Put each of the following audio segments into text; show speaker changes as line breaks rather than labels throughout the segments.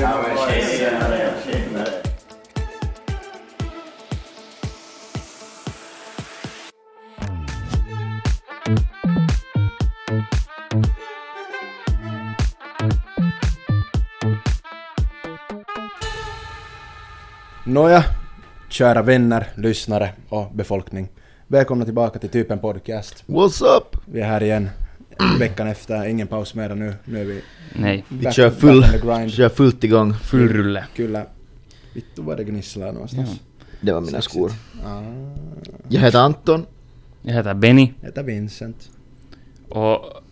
Ja, men tjenare, tjenare.
Nåja, kära vänner, lyssnare och befolkning. Välkomna tillbaka till Typen Podcast.
What's up?
Vi är här igen veckan efter, ingen paus mera nu. Nu är vi
Nej,
back-
kör
back
full.
on the grind.
Jag är fullt igång.
full rulle.
Kyllä. Vittu vad det gnisslar någonstans.
Det var mina
Sexigt.
skor.
Ah,
Jag heter Anton.
Jag heter Benny
heter Vincent.
och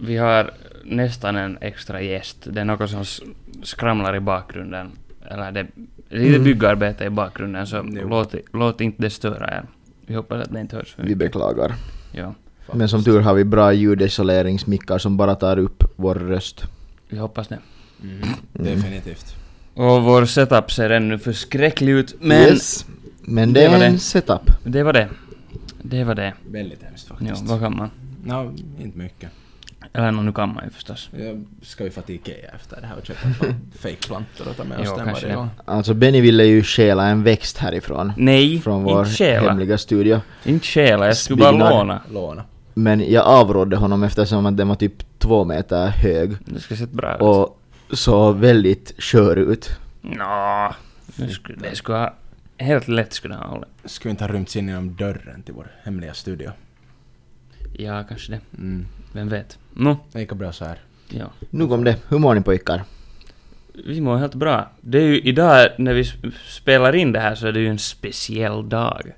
vi har nästan en extra gäst. Det är något som s- skramlar i bakgrunden. Eller det det är lite
Mm.
byggarbete i bakgrunden så låt, låt inte det störa er. Vi hoppas att det inte hörs
Vi
för mycket.
beklagar.
Ja.
Men som tur har vi bra ljudisoleringsmickar som bara tar upp vår röst.
Vi hoppas det.
Mm.
Mm, Definitivt.
Och vår setup ser ännu förskräcklig ut men
yes. Men det
Det var
är en
det.
setup.
det var det. Det var det.
Väldigt hemskt
Ja,
faktiskt.
vad kan man?
Ja, inte mycket.
Eller nå, nu kan man ju förstås.
Jag ska ju få till Ikea efter det här och köpa fan fake-plantor och ta med oss
Ja,
den
kanske
varje
det.
gång.
Alltså Benny ville ju stjäla en växt härifrån.
Nej,
Från vår
inte stjäla.
hemliga studio.
Inte stjäla, jag skulle bara
Byggnad.
låna.
Låna.
Men jag avrådde honom eftersom att den var typ två meter hög.
Det ska se bra ut.
Och så väldigt skör ut.
Nå, det skulle, det skulle ha... Helt lätt skulle han hålla.
Skulle inte ha rymts in genom dörren till vår hemliga studio.
Ja, kanske det.
Mm.
Vem vet? Nå,
Det gick bra så här.
ja.
Nog om det. Hur mår ni pojkar?
Vi mår helt bra. Det är ju idag, när vi sp- spelar in det här, så är det ju en speciell dag.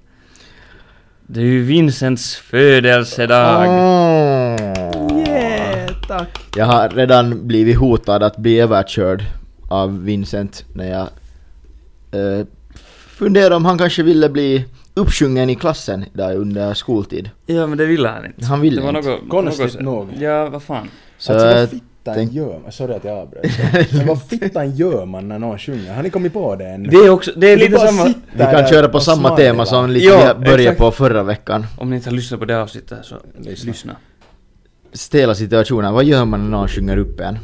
Det är ju Vincents födelsedag.
Yeah, tack!
Jag har redan blivit hotad att bli överkörd av Vincent när jag eh, funderar om han kanske ville bli uppsjungen i klassen där under skoltid.
Ja, men det ville han inte.
Han ville
det var
inte.
något...
Konstigt
något,
nog.
Ja, vad fan.
Så
alltså vad
jag
fittan
tänk-
gör man? Sorry att jag avbröt. Men vad fittan gör man när någon sjunger? Har ni kommit på det än?
Det är också... Det är
Vi
lite
bara
samma...
sitter
vi kan
där
köra på
och
samma
smilar.
tema som lite
Ja,
vi började
exakt.
på förra veckan.
Om ni inte har lyssnat på det avsnittet här, så lyssna.
Stela situationen, vad gör man när någon sjunger upp en?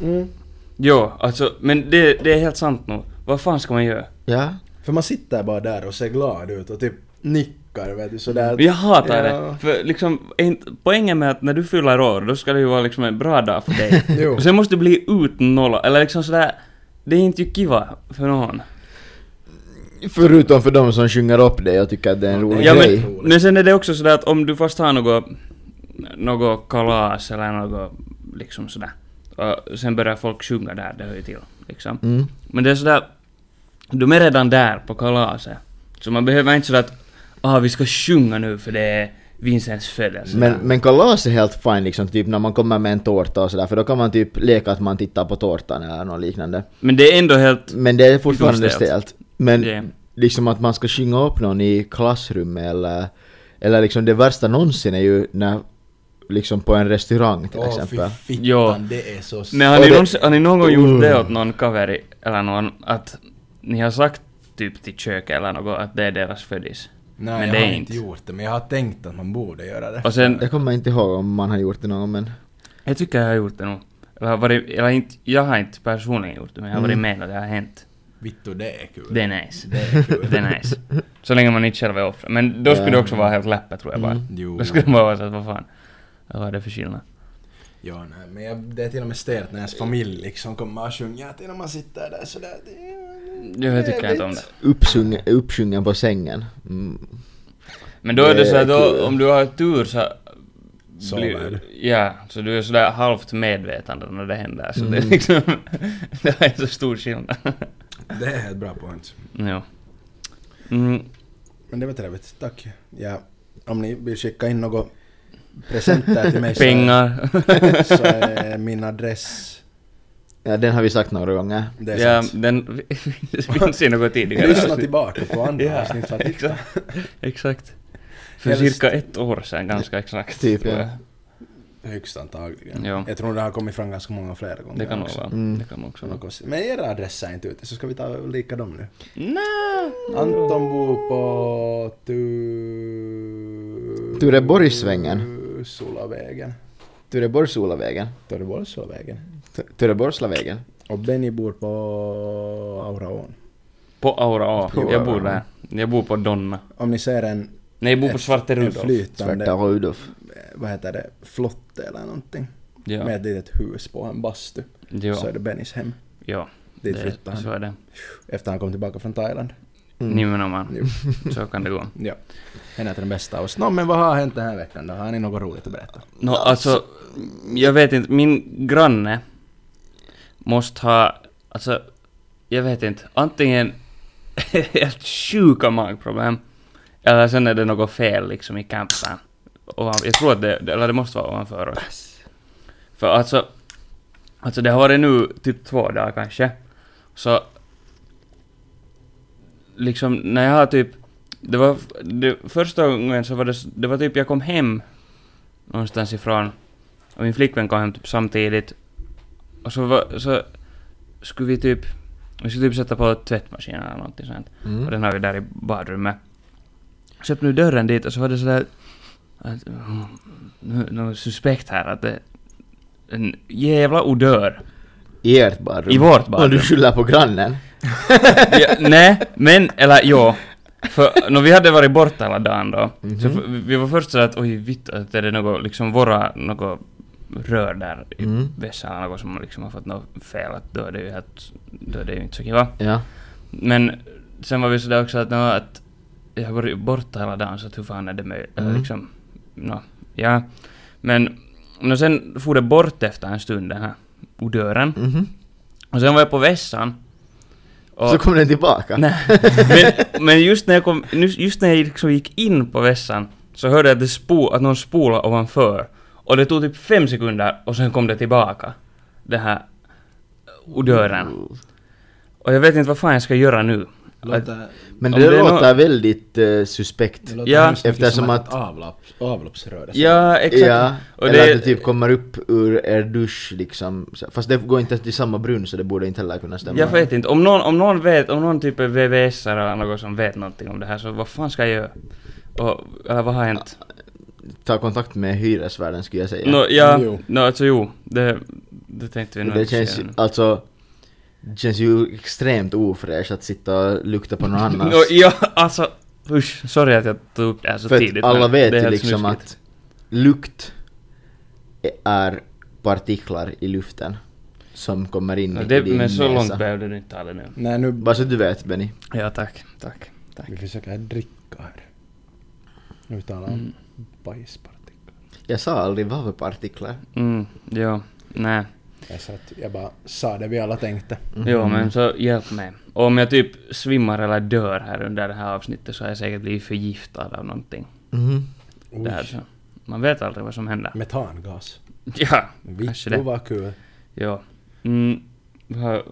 Jo, alltså, men det, det är helt sant nog. Vad fan ska man göra?
Ja?
För man sitter bara där och ser glad ut och typ nickar vet du sådär.
Jag
Ja.
hatar det. För liksom, en- poängen med att när du fyller år, då ska det ju vara liksom en bra dag för dig.
Jo.
Och sen måste du bli utnollad, eller liksom sådär. Det är inte ju kiva för någon.
Förutom för de som sjunger upp det, jag tycker att det är en rolig
Ja,
grej.
men, men sen är det också sådär att om du fast har något, något kalas eller något liksom sådär. Och sen börjar folk sjunga där, det hör ju till. Liksom.
Mm.
Men det är sådär, de är redan där på kalaset. Så man behöver inte sådär att ah, vi ska sjunga nu för det är Vincents födelsedag.
Men, men kalas är helt fine liksom, typ när man kommer med en tårta och sådär, för då kan man typ leka att man tittar på tårtan eller något liknande.
Men det är ändå helt...
Men det är fortfarande
Fullt stelt.
stelt. Men
Det-
liksom att man ska sjunga upp någon i klassrummet eller... Eller liksom det värsta någonsin är ju när... Liksom på en restaurang till
Åh fy
exempel.
fittan,
Ja.
det är så...
Men har ni,
Och det-
någonsin, har ni någon gång
Mm.
gjort det åt någon kaveri eller någon att ni har sagt typ till köket eller något att det är deras födis?
Nej,
men
jag
det är
har
inte.
inte gjort det men jag har tänkt att man borde göra det.
Och sen,
Jag kommer inte ihåg om man har gjort det någon gång, men...
jag tycker jag har gjort det nog. Eller, har varit, eller inte, jag har inte personligen gjort det men jag har varit med när det har hänt.
Vittu det är kul.
Det är nice.
Det är kul.
Det är nice. Så länge man inte själv är offret. Men då skulle det också vara helt läppe tror jag bara.
Jo.
Då skulle man vara såhär, vad fan. Vad är det för skillnad?
Ja, nej, men jag, det är till och med stelt när ens familj liksom kommer och sjunger att innan man sitter där sådär. Det är
Jo, jag tycker inte om
trevligt.
det.
Uppsjung, uppsjungen på sängen. Mm.
Men då är
Det
det
är
såhär
kul.
då, om du har tur så...
Sover du?
ja, så du är sådär halvt medvetande när det händer. Så det
Mm.
är liksom... det är så stor skillnad.
Det är ett bra point.
ja. Mm,
Men det var trevligt, tack. Ja, om ni vill skicka in något presenter till mig så-
pengar.
så är min adress...
Ja, den har vi sagt några gånger.
Det är
ja,
sant.
den... det finns ju något tidigare.
Lyssna tillbaka på andra
Ja,
avsnitt för att hitta.
exakt. Exakt. För
Helst-
cirka ett år sedan ganska exakt.
Typ,
tror
ja.
jag.
Högst antagligen.
Ja.
Jag tror det har kommit fram ganska många flera gånger
Det kan nog
också.
vara. Det kan nog också
Som har
vara.
kostat- Men era adresser är inte ute, så ska vi ta och lika dem nu.
Nej.
Anton bor på... Tu...
Tureborgssvängen.
Sulavägen.
Tureborgsolavägen.
Törreborgsolavägen.
Tu- Tureborgslavägen.
Och Benny bor på Auraån.
På Aura A.
På
Jag bor
Aura.
där. Jag bor på Donna.
Om ni ser en,
Nej, jag bor på
Ett-
Svarte
en
Rudolf.
flytande,
Svarta Rudolf.
vad heter det, flotte eller någonting. Med
Ja.
ett litet hus på en bastu. Så
Ja.
är det Bennys hem.
Ja.
Dit
det-
flyttade
Så
han.
är det.
Efter han kom tillbaka från Thailand.
Mm.
Nu menar man.
Jo.
Så kan det gå.
Ja. En är den bästa av oss. Nå men vad har hänt den här veckan då? Har ni något roligt att berätta?
No, alltså, jag vet inte, min granne måste ha, alltså, jag vet inte, antingen helt sjuka magproblem, eller sen är det något fel liksom i campen. Och jag tror att det, eller det måste vara ovanför oss. För alltså, alltså det har varit nu typ två dagar kanske, så liksom när jag har typ, det var, det, första gången så var det, s- det var typ jag kom hem någonstans ifrån. Och min flickvän kom hem typ samtidigt. Och så, var, så skulle vi typ... Vi skulle typ sätta på tvättmaskinen eller någonting sånt. Och den har vi där i badrummet. Så öppnade vi dörren dit och så var det sådär... Att, mm, nu- något suspekt här att det... En jävla odör.
I ert badrum.
I vårt
Och du
badrum.
skyller på grannen.
ja, nej, men... Eller jo. För när vi hade varit borta hela dagen då. Så
Mhm.
f- vi var först sådär att oj vitt att är det något liksom våra... Något rör där i
Mm.
vässan eller något som liksom har fått något fel, att då är det ju, helt, då är det ju inte så kiva.
Ja.
Men sen var vi sådär också att, nå, att jag har varit borta hela dagen så att hur fan är det möjligt?
Mm.
Liksom, nå, ja. Men nå, sen for det bort efter en stund den här odören.
Mhm.
Och sen var jag på vässan. Och-
Så kom den tillbaka.
Nej. Men, men just när jag, kom, nu- just när jag liksom gick in på vässan så hörde jag att, det spo, att någon spolade ovanför. Och det tog typ fem sekunder och sen kom det tillbaka. Den här odören. Och jag vet inte vad fan jag ska göra nu. Att,
Låter,
Men
Om
det,
det är
låter
nå-
väldigt eh, suspekt.
det låter
Ja.
hemskt mycket
Eftersom
som
att-
ett avlopp, avloppsrör. det säger.
ja, exakt.
Ja,
och
eller
det,
att det typ kommer upp ur er dusch liksom. Så- Fast det går inte till samma brunn så det borde inte heller kunna stämma.
jag vet inte, om någon, om någon vet, om någon typ är vvs eller något som vet någonting om det här så vad fan ska jag göra? Och, eller vad har hänt?
Ta kontakt med hyresvärden skulle jag säga.
Nå, ja,
Jo.
nå, alltså jo, det, det tänkte vi nog
det
inte säga
känns ju,
nu.
alltså, det känns ju extremt ofräscht att sitta och lukta på någon annans.
Nå, ja, alltså usch, sorry att jag tog upp det här så
För
tidigt.
att alla
men
vet
det
ju
är helt
liksom
snuskigt.
att lukt är partiklar i luften som kommer in
Nå,
i
det,
din
men så
näsa.
långt behövde du inte ta det nu.
Nej nu...
Bara så du vet Benny.
Ja, tack, tack, tack.
Vi försöker dricka här. Nu talar om
Mm,
bajspartiklar.
Jag sa aldrig vad för partiklar.
mm ja, nej.
Jag, sa att jag bara sa det vi alla tänkte.
Mm.
Jo, men så hjälp mig. Och om jag typ svimmar eller dör här under det här avsnittet så har jag säkert blivit förgiftad av någonting.
Mhm.
Det här,
Oj,
så. Man vet aldrig vad som händer.
Metangas.
Ja,
Vittu
kanske det.
vad kul.
Ja. Mm, vad, har-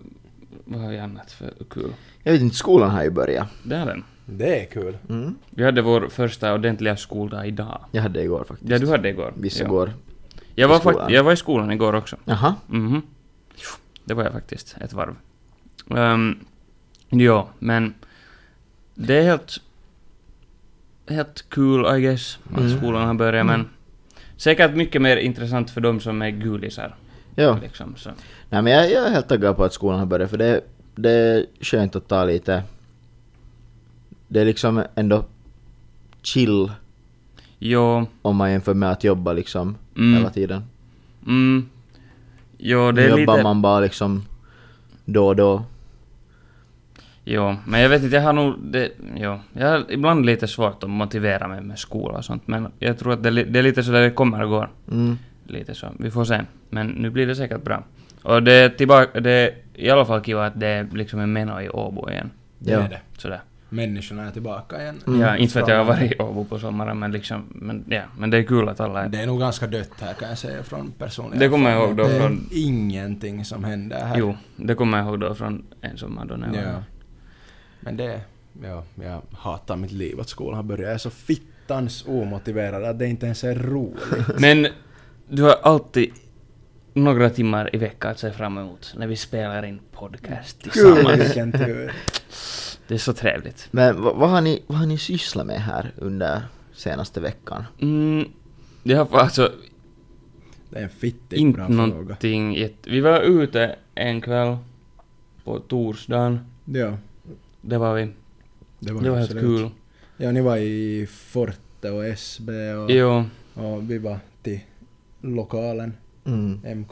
vad har vi annat för kul?
Jag vet inte, skolan har ju börjat.
Där är den.
Det är kul.
Mm.
Vi hade vår första ordentliga skoldag idag.
Jag hade igår faktiskt.
Ja, du hade igår.
Vissa
ja.
går.
Jag var,
i skolan.
fakt- jag var i skolan igår också.
Jaha.
Mhm. Det var jag faktiskt, ett varv. Um, ja, men det är helt... Helt cool, I guess, att
Mm.
skolan har börjat, men... Säkert mycket mer intressant för dem som är gulisar.
Ja.
Liksom, så.
Nej men jag, jag är helt taggad på att skolan har börjat för det, det är skönt att ta lite... Det är liksom ändå chill
Jo,
om man jämför med att jobba liksom
Mm.
hela tiden.
mm, jo,
Nu
det är
jobbar
lite...
man bara liksom då och då.
Jo, men jag vet inte, jag har nog... Det, jo, jag har ibland lite svårt att motivera mig med skola och sånt, men jag tror att det, är li- det är lite sådär det kommer och går.
Mm.
lite så. Vi får se. Men nu blir det säkert bra. Och det är tillbaka, det är i alla fall kiva att det är liksom en meno i Åbo igen.
Det
Ja.
är det.
Sådär.
Människorna är tillbaka igen.
Ja, inte för att jag har varit i Åbo på sommaren men liksom, men ja, men det är kul att alla är...
Det är nog ganska dött här kan jag säga från personliga
Det kommer jag ihåg då
erfarenhet.
från-
Det är ingenting som händer här.
Jo, det kommer jag ihåg då från en sommar då när jag var
Ja. Men det... Ja, jag hatar mitt liv att skolan har börjat. Jag är så fittans omotiverad att det inte ens är roligt.
Men du har alltid några timmar i veckan att se fram emot när vi spelar in podcast tillsammans.
Vilken tur.
Det är så trevligt.
Men vad, vad, har ni, vad har ni sysslat med här under senaste veckan?
Mm, jag har alltså...
Det är en fittig
Inte
bra fråga.
någonting jätte... Vi var ute en kväll på torsdagen.
Ja,
Det var vi.
det var,
Det var helt
absolut.
kul.
Ja, ni var i Forte och SB och,
Jo,
och vi var till lokalen,
Mm.
MK.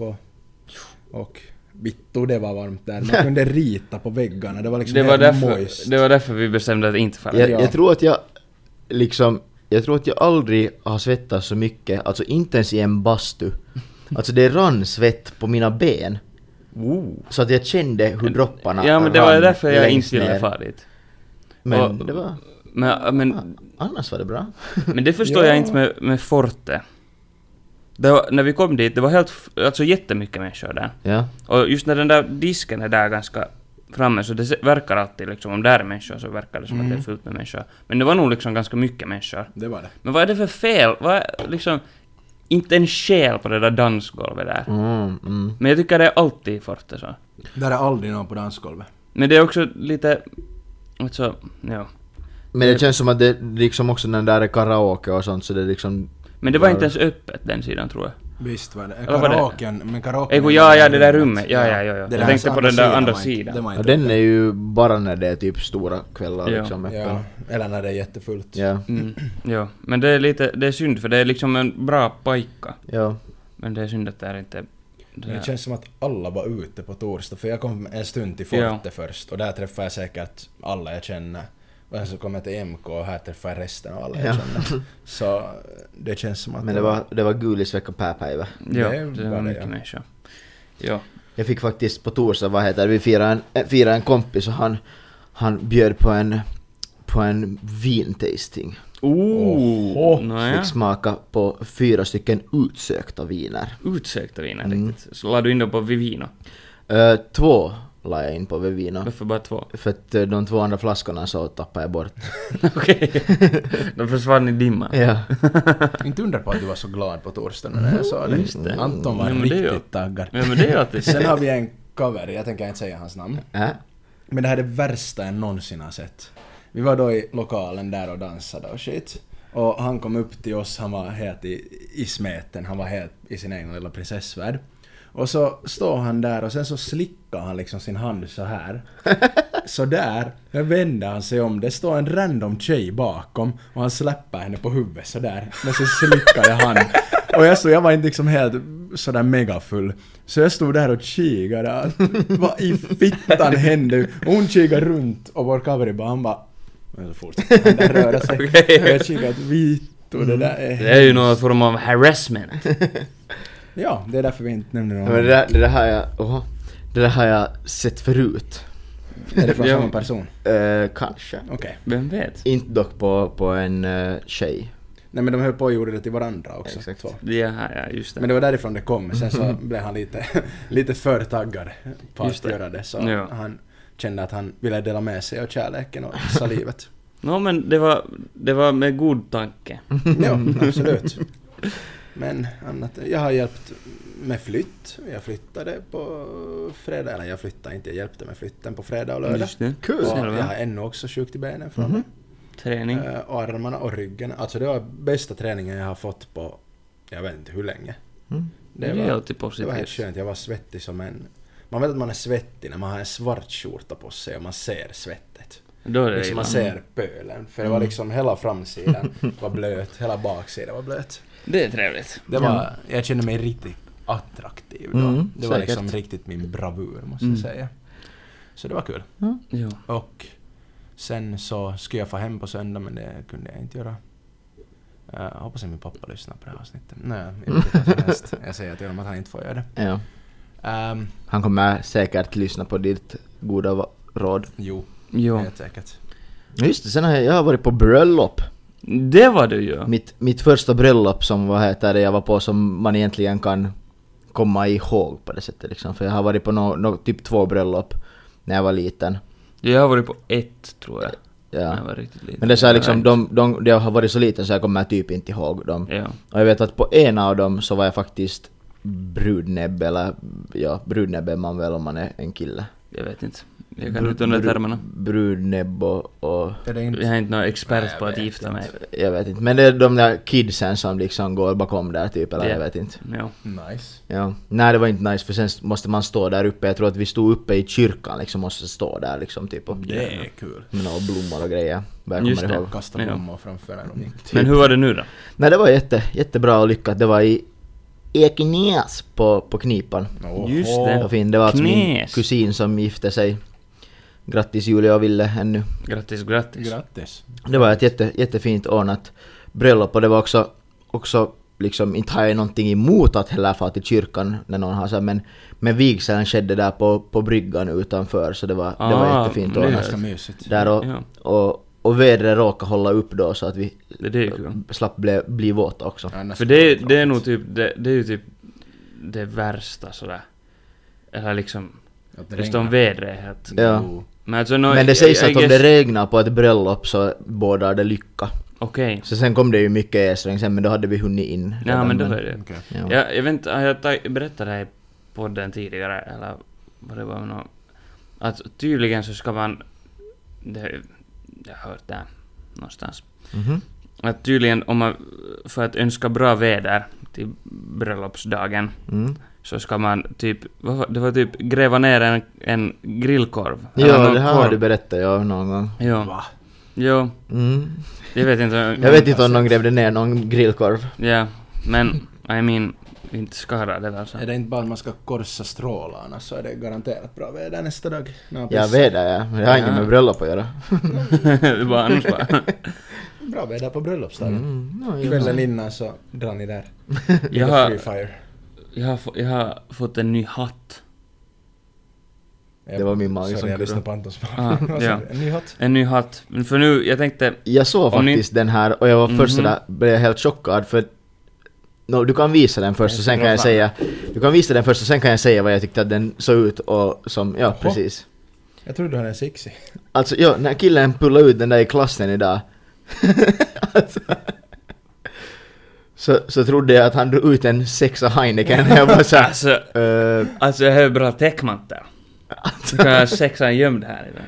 Och Vittu, det var varmt där. Man kunde rita på väggarna, det var liksom
det var,
helt
därför,
moist.
det var därför vi bestämde att inte fara.
Jag,
Ja.
jag tror att jag liksom, jag tror att jag aldrig har svettats så mycket, alltså inte ens i en bastu. Alltså det rann svett på mina ben. Så att jag kände hur dropparna
Ja, men det var
rann
därför jag
längst
inte ville
ner.
fara dit.
Men
Och-
det var...
Men, men
Annars var det bra.
Men det förstår
Ja.
jag inte med, med Forte. Det var, när vi kom dit, det var helt, f- alltså jättemycket människor där.
Ja.
Och just när den där disken är där ganska framme så det se- verkar alltid liksom, om där är människor så verkar det som
Mm.
att det är fullt med människor. Men det var nog liksom ganska mycket människor.
Det var det.
Men vad är det för fel? Vad är, liksom, inte en själ på det där dansgolvet där.
Mm, mm.
Men jag tycker det är alltid i Forte så.
Där är aldrig någon på dansgolvet.
Men det är också lite, alltså, ja.
Men det känns som att det liksom också när det där är karaoke och sånt så det liksom...
Men det var
Ja.
inte ens öppet den sidan tror jag.
Visst var det.
Eller var det-
Karaoken, men karaoken...
Ei kun jaa, jaa, det där rummet. Jaa, jaa, jaa, jaa.
Det
Jag
där
tänkte på
andra
den där
sidan
andra
var inte-
sidan.
det var
Ja,
inte
den är ju bara när det är typ stora kvällar
Ja.
liksom öppen.
Ja, eller när det är jättefullt.
Ja.
Mm, ja, men det är lite, det är synd för det är liksom en bra paikka.
ja.
Men det är synd att det är inte... Det
Men
där.
det känns som att alla var ute på torsdag, för jag kom en stund till Forte först och där träffade jag säkert alla jag känner. Och sen så kom jag till MK och här träffade jag resten av alla jag
Ja.
känner. Så det känns som att...
Men det var, det var gulis vecka pääpäivä.
ja,
det
det,
var
var
det,
mycket
ja.
människor. Ja.
Jag fick faktiskt på torsdag, vad heter det, vi firade en, äh, firade en kompis och han, han bjöd på en, på en vintasting.
Ooh!
Oho.
Nåja.
Fick smaka på fyra stycken utsökta viner.
Utsökta viner
Mm.
riktigt. Så la du in dem på Vivino.
Ö, Eh, två la jag in på Vivino.
Varför bara två?
För att eh, de två andra flaskorna så tappade jag bort.
Okej. Då försvann i dimman.
Ja.
Inte undra på att du var så glad på torsdagen när jag sa det.
Just det.
Anton var
Ja, men det är ju-
riktigt taggad.
Ja men det är ju alltid
Sen har vi en cover, jag tänker inte säga hans namn.
Äh?
Men det här är det värsta jag någonsin har sett. Vi var då i lokalen där och dansade och shit. Och han kom upp till oss, han var helt i, i smeten, han var helt i sin egen lilla prinsessvärld. Och så står han där och sen så slickar han liksom sin hand så här. Så där, sen vänder han sig om, det står en random tjej bakom och han släpper henne på huvudet så där. Men så slickade han. Och jag stod, jag var inte liksom helt sådär megafull. Så jag stod där och kikade. att Vad i fittan hände? Och hon kikade runt och vår kaveri bara, han bara... Men så fortsatte han där röra sig.
Okej.
Och jag kikade att vittu, det där är...
Det är ju någon form av harassment.
Ja, det är därför vi inte nämner
Ja, men det
någon.
där, det där har jag... Oho, det där har jag sett förut.
Är det från
Ja.
samma person?
Eh, kanske.
Okej.
Vem vet?
Inte dock på, på en uh, tjej.
Nej men de höll på och gjorde det till varandra också.
Exakt.
Två.
Ja, ja just det.
Men det var därifrån det kom, sen så blev han lite, lite för taggad på
Mm. Just
att
det.
göra det. Så
Ja.
han kände att han ville dela med sig av kärleken och salivet.
Nå men det var, det var med god tanke.
ja, absolut. Men annat, jag har hjälpt med flytt. Jag flyttade på fredag, eller jag flyttade inte, jag hjälpte med flytten på fredag och lördag.
Just det. Mm-hmm. Mm.
Kul.
Och
Ser du
jag
väl?
har ännu också sjukt i benen från det.
Träning.
Eh, och armarna och ryggen. Alltså det var bästa träningen jag har fått på, jag vet inte hur länge.
Mm.
Det, är alltid
Det var helt
positivt.
skönt, jag var svettig som en... Man vet att man är svettig när man har en svart skjorta på sig och man ser svettet.
Då är det
Liksom man
illa.
ser pölen. För det var liksom hela framsidan var blöt, hela baksidan var blöt.
Det är trevligt.
Det var, jag kände mig riktigt attraktiv då.
Mm,
det var liksom
säkert.
riktigt min bravur måste jag säga. Så det var kul.
Jo.
Och sen så skulle jag få hem på söndag men det kunde jag inte göra. Eh, hoppas att min pappa lyssnar på det här avsnittet. Nej, i vilket fall som helst. jag säger till honom att han inte får göra det.
Ja.
Ehm,
Han kommer säkert lyssna på ditt goda va- råd.
Jo,
Jo.
helt säkert.
Just det, sen har jag, jag har varit på bröllop.
Det var du ju.
Mitt, mitt första bröllop som vad heter det, jag var på som man egentligen kan komma ihåg på det sättet liksom. För jag har varit på no, no, typ två bröllop när jag var liten.
Jag har varit på ett, tror jag.
Ja.
Jag var riktigt liten.
Men det är så här, liksom,
Nej.
de, de, de har varit så liten så jag kommer typ inte ihåg dem.
Ja.
Och jag vet att på en av dem så var jag faktiskt brudnäbbe, eller ja, brudnäbbe är man väl om man är en kille.
Jag vet inte. Jag kan inte under
bru-
termerna.
Brudnäbb och, och...
Är det
Jag är
inte...
inte någon
Nej,
expert
jag
på att
vet
gifta mig.
Jag vet inte. Men det är de där kidsen som liksom går bakom där typ, eller jag
Ja.
vet inte.
Ja.
Nice.
Ja. Nej, det var inte nice för sen måste man stå där uppe. Jag tror att vi stod uppe i kyrkan liksom, måste stå där liksom typ och...
Det är kul.
Med några blommor och grejer. Vad jag
Just
kommer
det.
ihåg.
Kasta
Ja.
blommor framför när de gick.
Men hur var det nu då?
Nej, det var jätte, jättebra och lyckat. Det var i Ekenäs på, på Knipan.
Oho.
Just det.
Och fin, det var alltså min
Knäs.
kusin som gifte sig. Grattis Julia och Ville ännu.
Grattis, grattis.
Grattis.
Det var ett jätte, jättefint ordnat bröllop och det var också, också liksom, inte har jag någonting emot att heller fara till kyrkan när någon har så här, men, men vigseln skedde där på, på bryggan utanför så det var, det var
Ah,
jättefint
men
Det är
Donut.
ordnat.
ganska mysigt.
Där och,
Ja.
och, och vädret råkade hålla upp då så att vi
Det, det är ju kul.
slapp bli, bli våta också.
Annars
För det,
skulle
det är
vara
nog
tråkigt.
typ det, det är ju typ det värsta sådär. Eller liksom,
Att det
just
regnar.
om vädret är helt...
Ja.
Jo.
Men alltså no,
men det
I-
sägs
I
att om
guess-
det regnar på ett bröllop så bådar det lycka.
Okej.
Så sen kom det ju mycket esregn sen men då hade vi hunnit in.
Ja
redan,
men då är det.
Okej.
Ja.
Ja, jag vet inte, har jag tag- berättat det här i podden tidigare eller vad det var med någon, Att tydligen så ska man... Det, jag har hört det här någonstans.
Mhm.
Att tydligen om man... För att önska bra väder till bröllopsdagen
Mm.
så ska man typ... Vad var, det var typ gräva ner en, en grillkorv. eller
Ja,
någon
det här
korv.
har du berättat ja, någon gång.
Jo,
Va?
jo,
Mm.
jag vet inte...
Jag vet inte om någon grävde ner någon grillkorv.
Ja, men I mean, inte skadar det väl så.
Är det inte bara att man ska korsa strålarna så är det garanterat bra väder nästa dag. när man
Jag
pissar.
vet det, ja. men det har inget
Ja.
med bröllop att göra.
det var annars bara...
Bra väder på bröllopsdagen.
Mm. ja, ja.
Kvällen innan så drar ni där.
Jag
Lite
har,
Free fire.
jag, har, få- jag har fått en ny hatt.
Ja,
Det var min mage
sorry,
som
jag lyssnade
kurrade.
på Antons mage.
Ah,
Och så,
ja.
En ny hatt.
En ny hatt. Men För nu, jag tänkte...
Jag såg
Om ni-
faktiskt den här och jag var först
Mhm.
sådär, blev helt chockad för... No, du kan visa den först och sen kan jag säga... Du kan visa den först och sen kan jag säga vad jag tyckte att den såg ut och som... Ja,
Jaha.
precis.
Jag trodde du hade en sixi.
Alltså ja, när killen pullade ut den där i klassen idag. alltså, så, så trodde jag att han drog ut en sexa Heineken. Jag bara såhär...
Alltså,
Uh,
alltså jag har ju bra täckmantel. Nu kan jag ha sexan gömd här i den.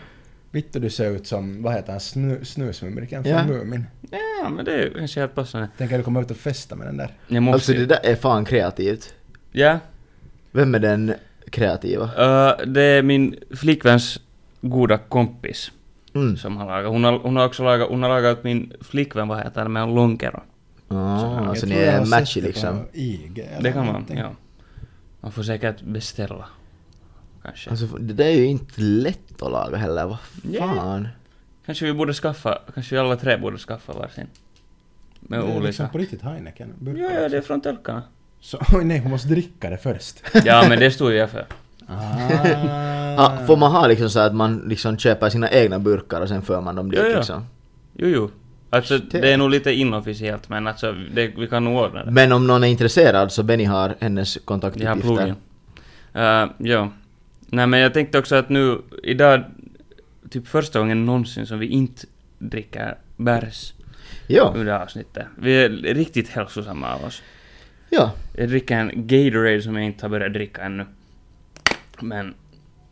Vittu du ser ut som, vad heter han, snu, snusmumriken från
Ja.
Mumin.
Ja, men det är ju kanske helt passande.
Tänker du komma ut och festa med den där?
Jag måste
alltså
ju-
det där är fan kreativt.
Ja.
Vem är den kreativa?
eh, det är min flickväns goda kompis
Mm.
som har lagat. Hon har, hon har också lagat, hon har lagat åt min flickvän, vad heter det, med en långkero.
Ah,
Jag
så ni
tror jag
är
har
en
sett
match
det på
liksom.
IG eller
Det kan man,
någonting.
ja. Man får säkert beställa. Kanske.
Alltså det där är ju inte lätt att laga heller, vad
Ja.
fan?
Kanske vi borde skaffa, kanske vi alla tre borde skaffa varsin. Med
det är
olika.
liksom på riktigt Heineken. burkar
Ja, ja,
också.
det är från tölkarna.
Så, oj nej, hon måste dricka det först.
Ja, men det stod jag för.
Ah, får man ha liksom så att man liksom köper sina egna burkar och sen för man dem dit
Ja, ja.
liksom?
Jo, jo. Alltså,
Shit.
det är nog lite inofficiellt, men alltså, det, vi kan nog
Mm.
ordna det.
Men om någon är intresserad så Benny har hennes
Jag har
kontaktuppgifter.
plogen. Uh, ja. Nej, men jag tänkte också att nu, idag, typ första gången någonsin som vi inte dricker bärs
Ja,
under avsnittet. Vi är riktigt hälsosamma av oss.
ja.
Jag dricker en Gatorade som jag inte har börjat dricka ännu. Men,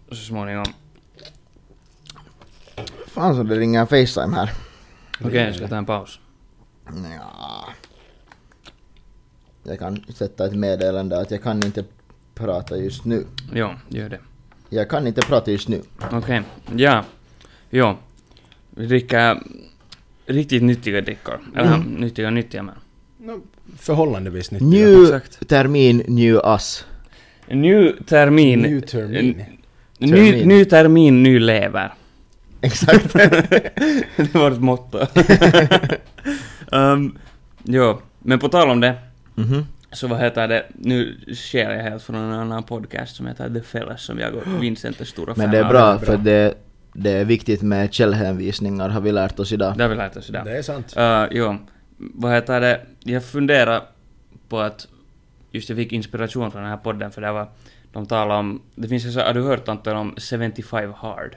så småningom.
Fan som det ringer en Facetime här.
Okej, jag ska ta en paus.
Ja. Jag kan sätta ett meddelande att jag kan inte prata just nu.
Ja, gör det.
Jag kan inte prata just nu.
Okej, ja. Jo. Vi dricker riktigt nyttiga drickor. Eller nyttiga nyttiga men.
No, förhållandevis nyttiga.
New
Exakt.
termin, new us.
Ny termin.
New termin.
Ny,
termin.
ny termin, ny lever.
Exakt.
det var ett motto. um, jo, men på tal om det.
Mhm.
Så vad heter det? Nu sker jag helt från en annan podcast som heter The Fellas som jag och Vincent är stora fan
Men det är
av.
bra för det, det är viktigt med källhänvisningar har vi lärt oss idag.
Det har vi lärt oss idag.
Det är sant.
Uh, jo, vad heter det? Jag funderar på att... Just jag fick inspiration från den här podden för det var... De talar om... Det finns en så, har du hört Anton om 75 hard?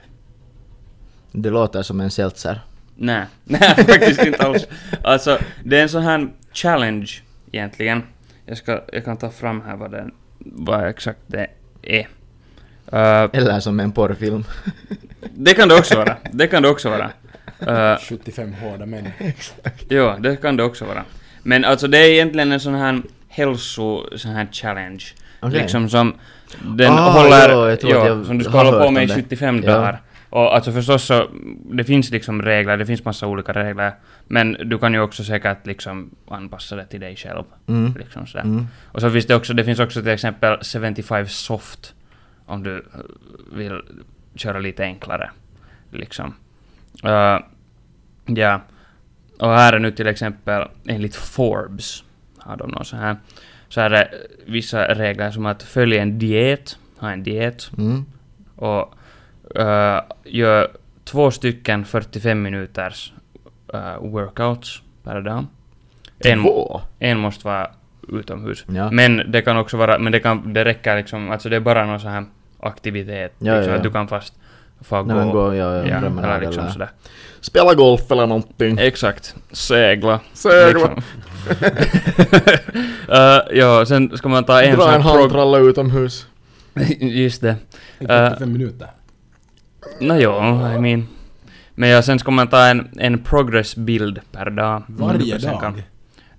Det låter som en seltzer.
Nej, nej faktiskt inte alls. Alltså, det är en sån här challenge egentligen. Jag, ska, jag kan ta fram här vad, den, vad exakt det är. Uh,
Eller som en porrfilm.
Det kan det också vara. Det kan det också vara. Eh,
75 hårda män.
ja, det kan det också vara. Men alltså det är egentligen en sån här hälso... sån här challenge.
Okej.
Liksom som... Den
Ah,
håller...
ja, jag tror att jag
som du ska
har
hålla
hört
på
om
med i
det.
75
Ja.
dagar. Och alltså förstås så, det finns liksom regler, det finns massa olika regler. Men du kan ju också säkert liksom anpassa det till dig själv.
Mm.
Liksom sådär.
Mm.
Och så finns det också, det finns också till exempel 75 soft. Om du eh, vill köra lite enklare. Liksom. Eh, ja. Och här är nu till exempel, enligt Forbes, har de någon så här. Så här är vissa regler som att följa en diet, ha en diet.
Mm.
Och eh, gör två stycken 45 minuters eh, workouts per dag. En,
Två?
en måste vara utomhus.
Ja.
Men det kan också vara, men det, kan, det räcker liksom, alltså det är bara någon sån här aktivitet.
Ja,
liksom,
ja,
Att
ja.
du kan fast få
Nej,
gå.
men gå, ja,
ja,
ja, promenad
eller liksom
eller-
sådär.
Spela golf eller någonting.
Exakt. Segla.
Mm.
Liksom.
Segla.
Eh, ja, sen ska man ta en sån
Dra en
här prog-
handtralla utomhus.
Just det.
I
Eh,
75 minuter.
Nåjo, I mean. Men ja, sen ska man ta en, en progressbild per dag.
Varje
Sen kan-
dag.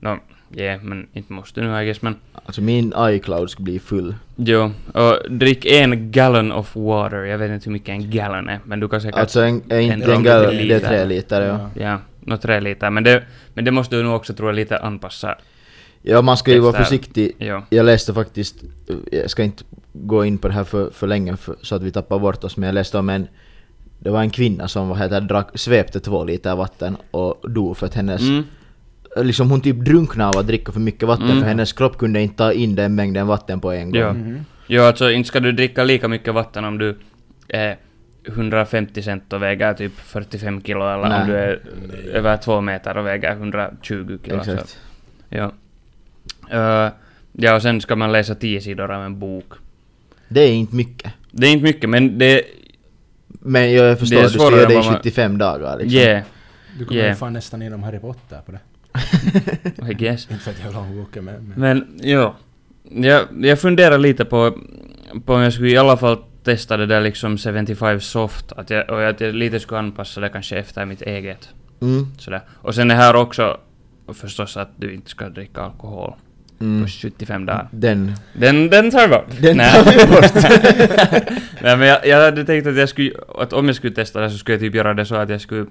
Nå, ja, men inte måste nu I guess, men...
Alltså min iCloud ska bli full.
Jo, och drick en gallon of water. Jag vet inte hur mycket en gallon är, men du kan säkert...
Alltså en, en,
En
en,
rom-
gal-
liter.
det är tre liter ja.
Ja, nå tre liter. Men det, men det måste du nog också, tror jag, lite anpassa.
Ja man ska ju vara
Testar.
försiktig.
Jo.
Jag läste faktiskt, jag ska inte gå in på det här för, för länge för, så att vi tappar bort oss men jag läste om en det var en kvinna som vad heter, drack, svepte två liter vatten och dog för att hennes...
Mm.
Liksom hon typ drunknade av att dricka för mycket vatten
Mm.
för hennes kropp kunde inte ta in den mängden vatten på en gång.
Jo.
Mm-hmm.
jo, alltså inte ska du dricka lika mycket vatten om du är 150 cent och väger typ 45 kilo eller om
Nej.
du är över två meter och väger 120 kilo. så-
Exakt.
Ja. Eh, ja, och sen ska man läsa tio sidor av en bok.
Det är inte mycket.
Det är inte mycket, men det...
Men jag förstår,
Det är
du ska
svårare
göra det
än
i
vad man-
75 dagar liksom.
Yeah,
Du kommer
Yeah.
ju fan nästan igenom Harry Potter på det.
I guess.
Inte för att jag vill ha en bok med. Men...
Men, ja. Jag, jag funderar lite på, på om jag skulle i alla fall testa det där liksom 75 soft. Att jag, och att jag lite skulle anpassa det kanske efter mitt eget.
Mm.
Sådär. Och sen det här också förstås att du inte ska dricka alkohol
Mm.
på 75 dagar.
Den.
Den, den tar vi bort.
Den
Nej.
tar vi bort.
Nej men jag, jag hade tänkt att jag skulle, att om jag skulle testa det så skulle jag typ göra det så att jag skulle...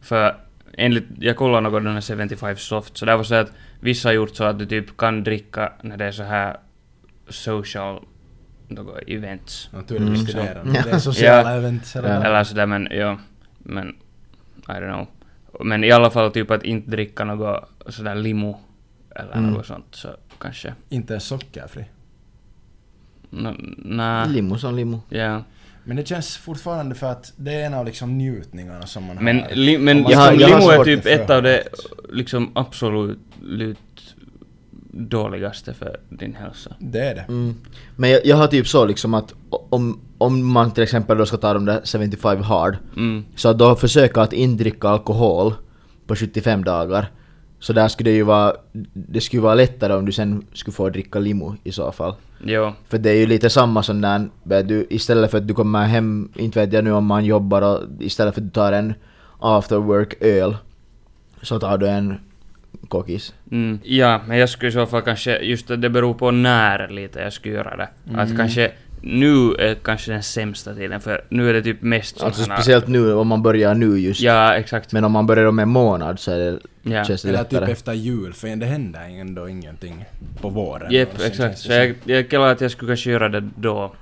För enligt, jag kollade något den här 75 soft, så där var så att vissa har gjort så att du typ kan dricka när det är så här social, något events.
Naturligtvis
Mm.
studerande. Det är sociala event. eller
Ja.
vad?
Eller sådär men ja, men I don't know. Men i alla fall typ att inte dricka något sådär limo eller
Mm.
något sånt så kanske.
Inte ens sockerfri.
Nå, nä.
Limo som limo.
Ja.
Men det känns fortfarande för att det är en av liksom njutningarna som man
Men,
har.
li, men
Om man
Jag har-
liksom,
jag har
limo är
svårt
typ
för
ett av det
högt.
liksom absolut lut- dåligaste för din hälsa.
Det är det.
Mm. Men jag, jag har typ så liksom att o- om, om man till exempel då ska ta de där 75 hard
Mm.
Så att då försöka att inte dricka alkohol på 75 dagar Så där skulle det ju vara Det skulle vara lättare om du sen skulle få dricka limo i så fall
Jo.
För det är ju lite samma som när vet du, istället för att du kommer hem, inte vet jag nu om man jobbar och istället för att du tar en after work öl Så tar du en kokis
Mm. Ja, men jag skulle i så fall kanske, just att det beror på när lite jag skulle göra det.
Mm.
Att kanske nu är kanske den sämsta tiden för nu är det typ mest
Alltså
sådana-
speciellt nu om man börjar nu just
Ja, exakt.
Men om man börjar om en månad så är det,
Ja.
känns det
Eller typ
lättare.
efter jul, för det händer ändå ingenting på våren.
Jep,
Och sen
exakt.
känns
Så
det som-
jag, jag kallar att jag skulle kanske göra det då,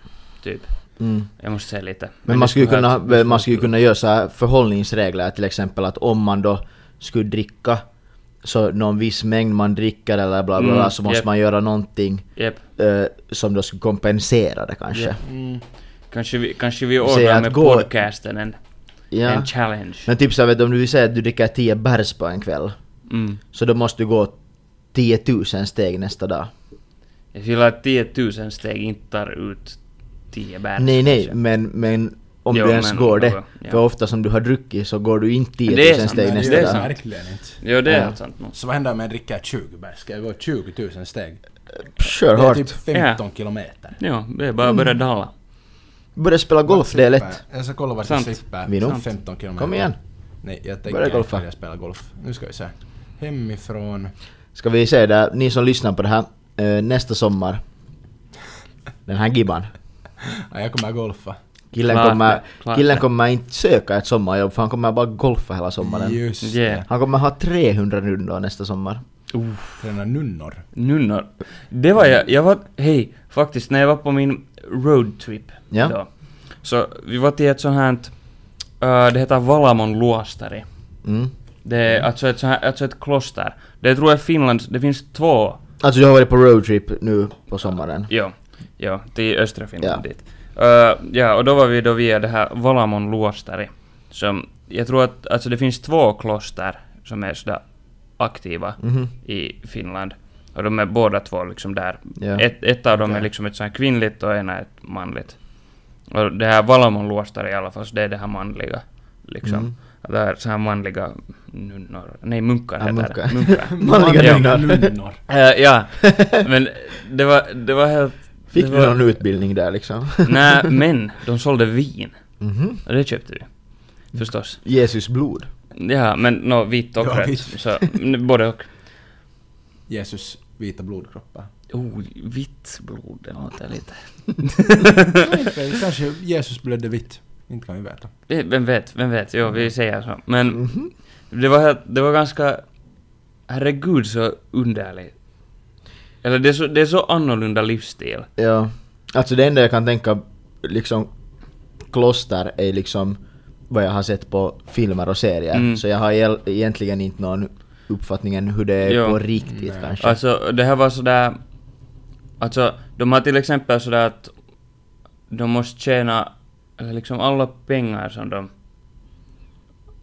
typ.
Mm.
Jag måste säga lite.
Men
det
man skulle, kunna,
ha- det
man skulle kunna göra så här förhållningsregler till exempel att om man då skulle dricka så någon viss mängd man dricker eller bla bla, bla
Mm,
så måste
japp.
man göra någonting
Jep.
eh, som då skulle kompensera det kanske.
Japp. Kanske vi, kanske vi
Säga
ordnar
att
med
gå-
podcasten en,
Ja.
en challenge.
Men typ så här, vet du, om du vill säga att du dricker 10 bärs på en kväll
Mm.
så då måste du gå 10 000 steg nästa dag.
Jag skulle att 10 000 steg inte tar ut 10 bärs.
nej nej
kanske.
men, men om
Jo,
du ens
men-
går det.
ja.
För ofta som du har druckit så går du inte 10 000
Det är sant,
steg
Nej,
nästa
det är
dag.
sant.
verkligen inte.
Jo, det är
Ja.
helt sant. nog.
Så vad händer om jag dricker 20 bärs? Ska jag gå 20 000 steg?
Kör
Det är
hårt.
typ 15 kilometer.
Mm.
Jo, det är bara att börja dala.
Börja spela golf, det är lätt.
Jag ska kolla vart
Sant.
jag slipper.
Vino. Sant.
15 kilometer.
Kom igen.
Nej, jag
Börja
tänker
golfa.
följa spela golf. Nu ska vi se. Hemifrån.
Ska vi se där, ni som lyssnar på det här, eh, nästa sommar. Den här gibban.
Ja, jag kommer golfa.
Killen,
Klart
kommer,
det, klart
killen
det.
kommer inte söka ett sommarjobb för han kommer bara golfa hela sommaren.
Just
Yeah.
det.
Han kommer ha 300 rundor nästa sommar.
Träna nunnor.
Nunnor. Det var jag, jag var, hej, faktiskt när jag var på min roadtrip
Ja.
då. Så vi var till ett sånt här, äh, det heter Valamon luostari.
Mm.
Det är alltså ett, sånt här, alltså ett kloster. Det tror jag Finland, det finns två,
Alltså du har varit på roadtrip nu på sommaren.
jo, jo, till östra Finland
Ja.
dit. Äh, ja, och då var vi då via det här Valamon luostari. Som, jag tror att, alltså det finns två kloster som är sådär aktiva
Mhm.
i Finland. Och de är båda två liksom där.
Ja.
Ett, ett av dem är
Okej.
liksom ett sånt här kvinnligt och ena är ett manligt. Och det här Valamon luostar i alla fall, så det är det här manliga. Liksom.
Mm.
Det här, så här manliga nunnor. Nej, munkar
Ja,
heter
munkar.
det. Munkar.
Manliga
Ja.
nunnor.
nunnor.
Eh, ja, men det var, det var helt...
Fick
det
du
var-
någon utbildning där liksom?
Nej, men de sålde vin.
Mhm.
Och det köpte vi. Förstås.
Jesus blod.
Ja, men nå, vitt och
Ja,
rött.
vitt.
Så, n- både och.
Jesus vita blodkroppar.
Oh, vitt blod, det låter lite...
Kanske Jesus blödde vitt. Inte kan vi veta.
Eh, Vem vet, vem vet, jo vi säger så. Men
Mhm.
det, var, helt- det var ganska, herregud så underligt. Eller det är så, det är så annorlunda livsstil.
Ja. Alltså det enda jag kan tänka liksom kloster är liksom vad jag har sett på filmer och serier.
Mm.
Så jag har el- egentligen inte någon uppfattning än hur det är
Jo.
på riktigt
Nej.
kanske.
Alltså det här var sådär, alltså de har till exempel sådär att de måste tjäna, eller liksom alla pengar som de,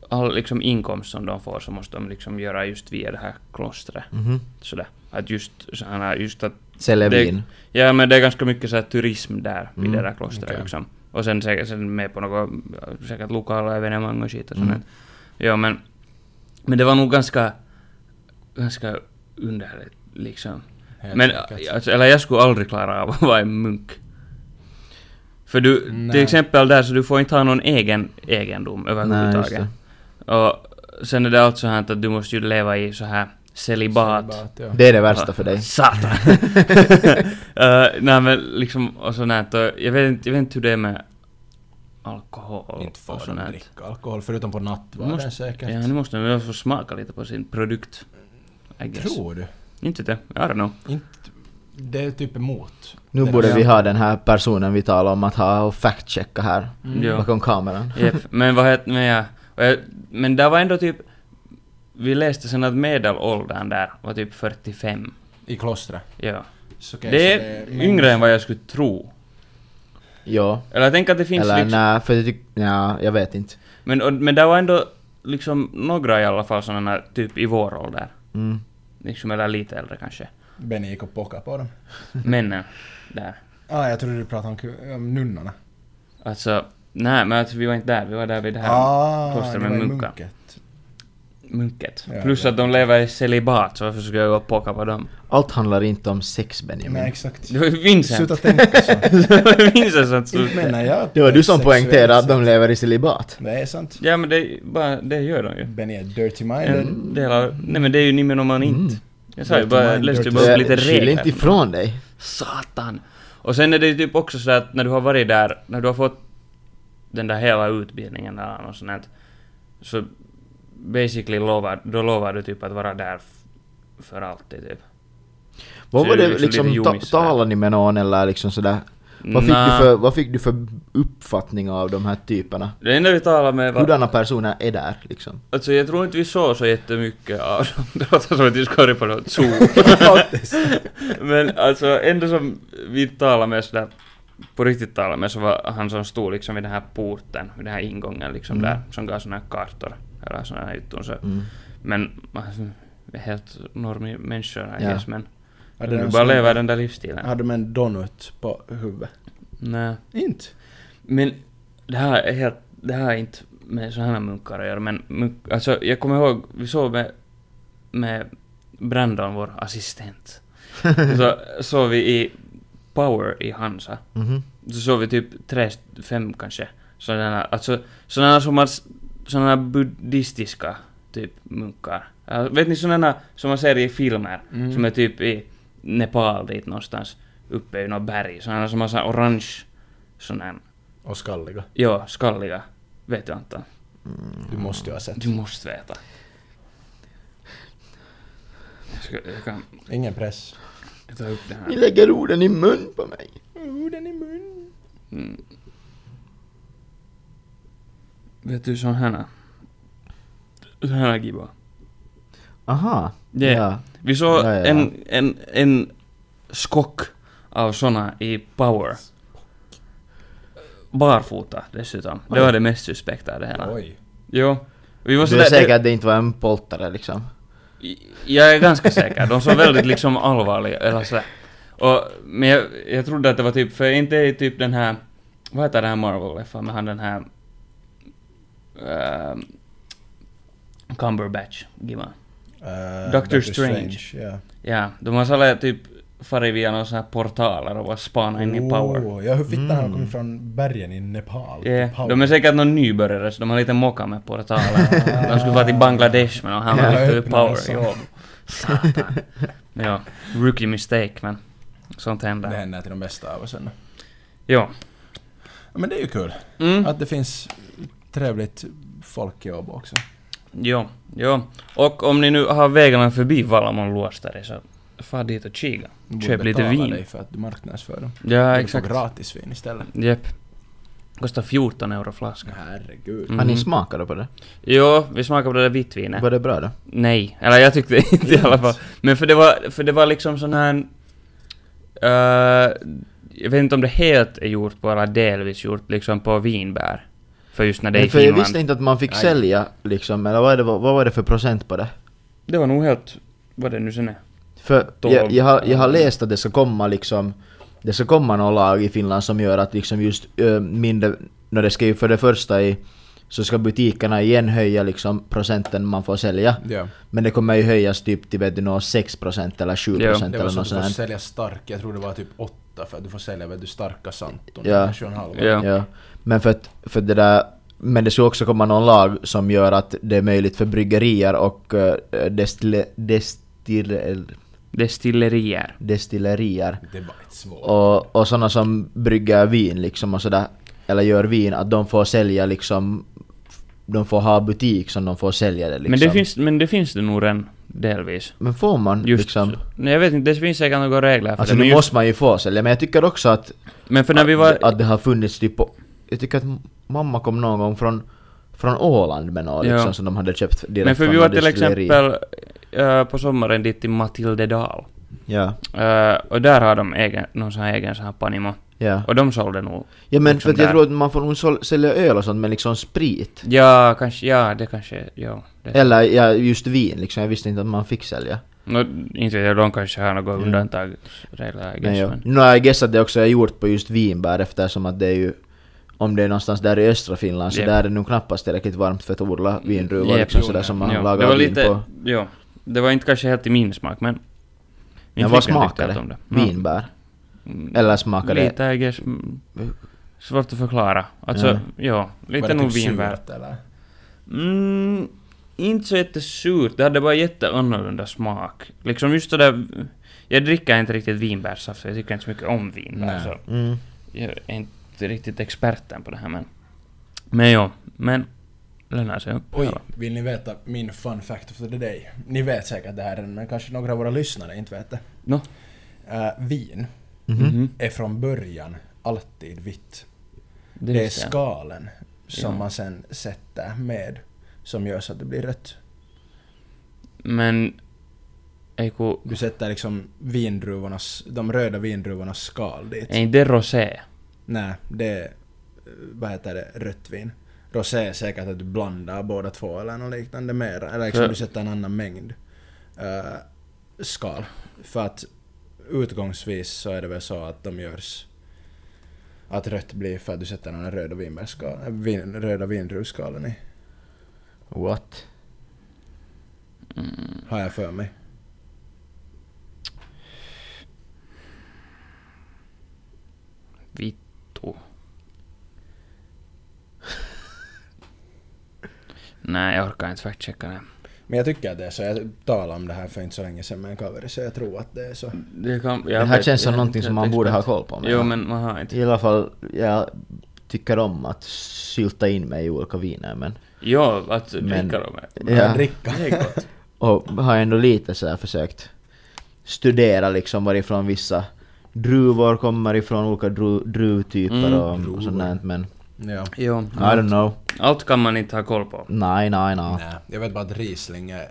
all liksom inkomst som de får så måste de liksom göra just via det här klostret.
Mhm.
Sådär. Att just, sådana, just att
Sälja
Det-
vin.
Ja, men det är ganska mycket så här turism där, vid
Mm,
det där klostret
okej.
liksom. Och sen, sä- sen med på något, äh, säkert lokala evenemang och skit och
Mm.
sånt. Ja, men, men det var nog ganska, ganska underligt liksom.
Helt
men,
säkert.
alltså, eller jag skulle aldrig klara av att vara en munk. För du,
Nej.
till exempel där, så du får inte ha någon egen egendom
Nej, just
överhuvudtaget. Och sen är det alltså så här att du måste ju leva i så här celibat.
ja.
Det är det värsta för dig.
Satan! uh, nej men liksom, och sånt här, och jag, vet inte, jag vet inte hur det är med alkohol
Inte
och
får
sånt
de
här.
dricka alkohol förutom på nattvarden
Måste-
säkert.
Ja, nu måste man få smaka lite på sin produkt. I guess.
Tror du?
Inte det, I don't know.
Inte... Det är typ emot.
Nu
Det-
borde
Ja.
vi ha den här personen vi talar om att ha och fact-checka här
Mm. Ja.
bakom kameran.
Jep, men vad heter, men ja, och jag, men där var ändå typ, vi läste sen att medelåldern där var typ 45.
I klostret.
Ja.
Så okej,
det
så
är yngre än vad jag skulle tro.
Ja.
Eller tänk att det finns
Eller
liksom...
nej, för jag tycker... Ja, jag vet inte.
Men, och, men det var ändå liksom några i alla fall sådana typ i vår ålder.
Mm.
Liksom, eller lite äldre kanske.
Benny gick och pockade på dem.
Männen där.
Ah, jag trodde du pratade om, ku- om nunnorna.
Alltså, nej men alltså, vi var inte där, vi var där vid det här klostret
det
med
Ah, var i
munkar.
munket.
Munket.
Ja,
Plus
ja.
att de lever i celibat, så varför skulle jag gå och pocka på dem?
Allt handlar inte om sex Benjamin.
Nej, exakt.
Det var ju Vincent!
Sluta tänka så.
Vincent som stod
Inte menar jag
Det var du som
sexuell-
poängterade att de lever i celibat.
Det är sant.
Ja men det, är bara, det gör de ju.
Benny är dirty minded.
En del av, nej men det är ju nimenomaan inte. Jag sa ju bara, jag läste ju
Det
bara
var
upp
Jag-
lite
Skyll
regler.
inte ifrån dig.
Satan! Och sen är det ju typ också så att när du har varit där, när du har fått den där hela utbildningen eller något sånt här, så basically lovar, då lovar du typ att vara där f- för alltid typ.
Vad
Så
var
det är
det
liksom lite
liksom, ta,
ljumis där.
talade ni med någon eller liksom sådär? Vad fick, du
Nä.
för, vad fick du för uppfattning av de här typerna?
Det enda vi talar med var...
Hurdana personer är där liksom?
Alltså jag tror inte vi såg så jättemycket av dem. Det låter som att vi skulle på något zoo. Men alltså ändå som vi talade med sådär, på riktigt talade med så var han som stod liksom vid den här porten, vid den här ingången liksom där, som gav sådana här kartor eller sådana här jutton så.
Mm.
Men alltså, vi är helt normi människor I
Ja.
guess men.
Hade
Du
de
bara
sån-
lever den där livsstilen.
Hade de en donut på huvudet?
Nej.
Inte.
Men det här är helt, det här är inte med sådana här munkar att göra, men munk, alltså jag kommer ihåg, vi sov med, med Brandon, vår assistent. Så sov vi i power i Hansa.
Mhm.
Så såg vi typ tre, fem kanske sådana, alltså sådana som har, sådana buddhistiska typ munkar. Äh, vet ni sådana som man ser i filmer,
Mm.
som är typ i Nepal dit någonstans, uppe i något berg, sådana som har sån orange, sån här,
Och skalliga.
ja, skalliga. Vet du Anton?
Du måste ju ha sett.
Mm. Du måste veta. Jag, ska, jag kan
Ingen press.
ta upp den
Ni
här.
lägger orden i mun på mig.
Orden i mun.
Mm. Vet du sån här? Sån här gibba.
Aha.
Det-
Ja.
Vi såg
Ja, ja, ja.
En, en, en skock av såna i Power. Barfota dessutom. Det var det mest suspekta det hela.
Oj.
Jo. Vi var
Du är
sådär,
säker att det inte var en poltare liksom?
Jag är ganska säker. De såg väldigt liksom allvarliga eller sådär. Och, men jag, jag trodde att det var typ, för inte är typ den här, vad heter den här Marvel-leffan med han den här... ehm, Cumberbatch, gimma.
Eh,
Doctor Strange.
Ja.
Ja, de har sådär typ farit via någon sån här portaler och bara spanat in i Power.
Oh, ja, hur fittan han
Mm.
kom från bergen i Nepal.
Ja,
till Power.
de är säkert någon nybörjare så de har lite mocka med portalen. de skulle vara till Bangladesh men de
Ja,
hamnade lite i
öppna
power.
dessa.
Jo. Satan. ja, rookie mistake men sånt
Det
händer.
händer till de bästa av oss ännu.
Ja.
Ja, men det är ju kul.
Mm.
Att det finns trevligt folk i Åbo också.
Jo, jo. Och om ni nu har vägarna förbi Valamon luostari så far dit och kika.
Du
Köp
borde
lite
betala
vin.
dig för att du marknadsför dem.
Ja,
du får
exakt.
gratis vin istället.
Jep. Kostar 14 euro flaska.
Herregud.
Mm.
Har ni smakat på det?
Jo, vi smakade på det där vittvinet.
Var det bra då?
Nej, eller jag tyckte inte i alla fall. Men för det var, för det var liksom sån här... eh, jag vet inte om det helt är gjort på, eller delvis gjort, liksom på vinbär. För just när det är i
Men för jag
Finland.
visste inte att man fick
Nej.
sälja liksom, eller vad, är det, vad var det för procent på det?
Det var nog helt... Vad det nu sen är.
För
Tolv.
jag, jag, har, jag har läst att det ska komma liksom Det ska komma några lag i Finland som gör att liksom just ö, mindre När det ska ju för det första i Så ska butikerna igen höja liksom procenten man får sälja
Ja.
Men det kommer ju höjas typ till vet du nå 6% eller 7%
Ja,
Det var så
eller
att du
något
får
sånt här.
sälja stark, jag tror det var typ åtta för att du får sälja vet du, starka Santon.
Ja.
Kanske en halv.
Ja.
Ja. Men för att, för det där men det ska också komma någon lag som gör att det är möjligt för bryggerier och uh, destille, destille,
Destillerier.
destillerier
Det var ett svårt.
och, och sådana som brygger vin liksom och sådär, eller gör vin, att de får sälja liksom, de får ha butik som de får sälja det liksom.
Men, det finns, men det finns det nog redan, delvis.
Men får man
Just...
liksom?
Nej, jag vet inte, det finns säkert några regler för
Alltså
det.
nu
Men, just,
måste man ju få sälja, men jag tycker också att,
men för när vi var...
att, att det har funnits typ på, jag tycker att m- mamma kom någon gång från, från Åland med något
Ja.
liksom som de hade köpt direkt
men för
från
vi var
något
till
destilleri.
exempel eh, på sommaren dit till Matildedal.
Ja,
Eh, och där har de egen, någon sån här egen sån här panimo.
ja.
Och de sålde nog...
Ja men
liksom
för att jag
där.
tror att man får nog sål- sälja öl och sånt men liksom sprit.
Ja, kanske, ja det kanske, ja. Det.
Eller ja, just vin liksom, jag visste inte att man fick sälja.
Nå, inte vet jag, de kanske har några undantagsregler,
Nej,
I guess,
ja.
men...
No, jag guess att det också är gjort på just vinbär eftersom att det är ju om det är någonstans där i östra Finland så
Jep.
där är det nog knappast tillräckligt varmt för att odla vindruvor
Jep,
liksom
jo,
sådär
nej.
som man
Mm, Ja,
lagar
det var
vin
lite,
på.
ja. Det var inte kanske helt i min smak, men...
Men
Min
vad
flickvän tyckte
smakar
allt
det?
om Ja.
Vinbär?
Mm,
Eller smakar det?
Lite, I guess, mm, Svårt att förklara. Alltså,
Ja.
ja.
Var
Lite
det
nog
typ
vinbär.
surt, eller?
Mm, inte så jättesurt. Det hade bara jätteannorlunda smak. Liksom just det där... Jag dricker inte riktigt vinbärssaft, för jag tycker inte så mycket om vinbär.
Nej.
Så
Mm.
jag är inte riktigt experten på det här men... Men ja, men... Lönar sig upp.
Oj, vill ni veta min fun fact of the day? Ni vet säkert det här redan, men kanske några av våra lyssnare inte vet det.
Nå?
Eh, vin
Mhm.
är från början alltid vitt.
Det,
Det är
visste jag.
skalen som
Ja.
man sen sätter med som gör så att det blir rött.
Men... Eiku...
Du sätter liksom vindruvornas, de röda vindruvornas skal dit.
Är inte det rosé?
Nej, det är, eh, vad heter det, rött vin. Rosé är säkert att du blandar båda två eller något liknande mer. Eller liksom
För-
du sätter en annan mängd eh, skal. För att utgångsvis så är det väl så att de görs att rött blir för att du sätter några röda vinbärsskal, vin, röda vindruvskalen i.
What?
Mm.
Har jag för mig.
Vittu. Nej, jag orkar inte fact-checka det.
Men jag tycker att det är så. Jag talade om det här för inte så länge sedan med en cover, så jag tror att det är så.
Det, kan, jag
Det här
vet-
känns som
jag är
någonting
inte
som
ett
man borde ha
expert.
koll på.
Jo, men man har inte.
I alla fall, jag tycker om att sylta in mig i olika viner men...
Jo, att
Men-
dricka dem. är-
Ja.
Ja.
Dricka.
Det är gott.
Och har ändå lite så här försökt studera liksom varifrån vissa druvor kommer ifrån, olika dru, druvtyper
Mm.
och, och sånt där. Men
Ja.
Jo.
I don't know.
Allt kan man inte ha koll på.
Nej, nej, nej.
Nej, jag vet bara att Riesling är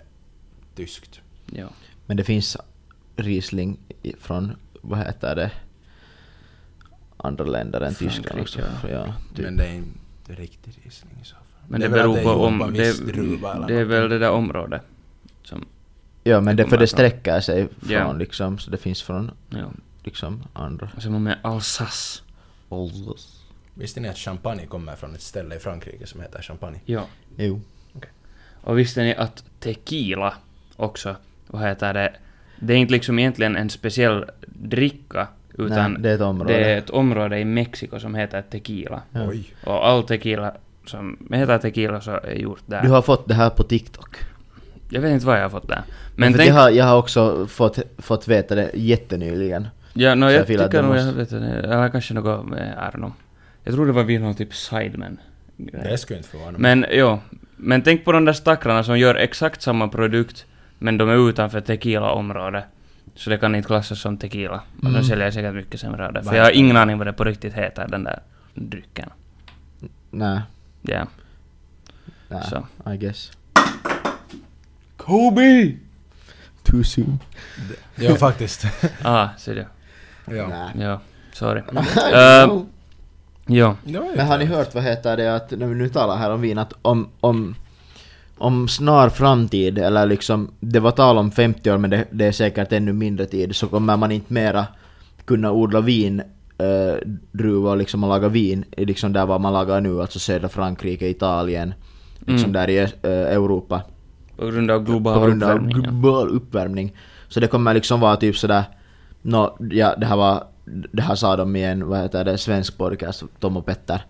tyskt.
Jo.
Men det finns Riesling i- från, vad heter det, andra länder än Tyskland också.
Frankrike,
Ja. typ.
Men det är inte riktig Riesling i så fall.
Men det,
är väl att
beror på
gjort
om...
på en
Det,
viss druva eller
det är väl det där området. Som,
ja, men det,
det
för det
kommer från-
sträcker sig från
Ja.
liksom, så det finns från
jo.
liksom andra.
Och sen har med Alsace.
Visste ni att champagne kommer från ett ställe i Frankrike som heter Champagne?
Jo.
Jo.
Och visste ni att tequila också, vad heter det, det är inte liksom egentligen en speciell dricka, utan
Nej, det är ett område.
det är ett område i Mexiko som heter tequila.
Ja.
Oj.
Och all tequila som heter tequila så är gjort där.
Du har fått det här på TikTok.
Jag vet inte vad jag har fått där.
Men
Men tänk...
jag, har, jag har också fått, fått veta det jättenyligen.
Ja, no,
Så
jag
jag filar att
tycker
du
nog jag
måste-
vet inte, eller kanske något med Arno. Jag tror det var vid någon typ Sidemen.
Det skulle inte
Mm.
förvåna mig.
Men jo, men tänk på de där stackarna som gör exakt samma produkt men de är utanför tequila-området. Så det kan inte klassas som tequila. Och
Mm.
de säljer säkert mycket sämre av det. För jag har ingen aning vad det på riktigt heter, den där drycken.
Nej,
Ja.
nej,
Så.
I guess.
Kobe!
Too soon.
Ja, faktiskt.
Ah, ser du.
ja.
Nej.
Ja, sorry.
Mm.
uh, jo.
Det var ju
Men har ni hört vad heter det att, när vi nu talar här om vin, att om, om, om snar framtid, eller liksom, det var tal om 50 år men det, det är säkert ännu mindre tid, så kommer man inte mera kunna odla vin eh, druvor liksom och laga vin, i liksom där vad man lagar nu, alltså södra Frankrike, Italien, liksom
Mm.
där i eh, Europa.
På grund av global
på grund av
uppvärmning. ja.
global uppvärmning. Så det kommer liksom vara typ sådär, nå ja det här var, det här sa de i en, vad heter det, svensk podcast, Tom och Petter.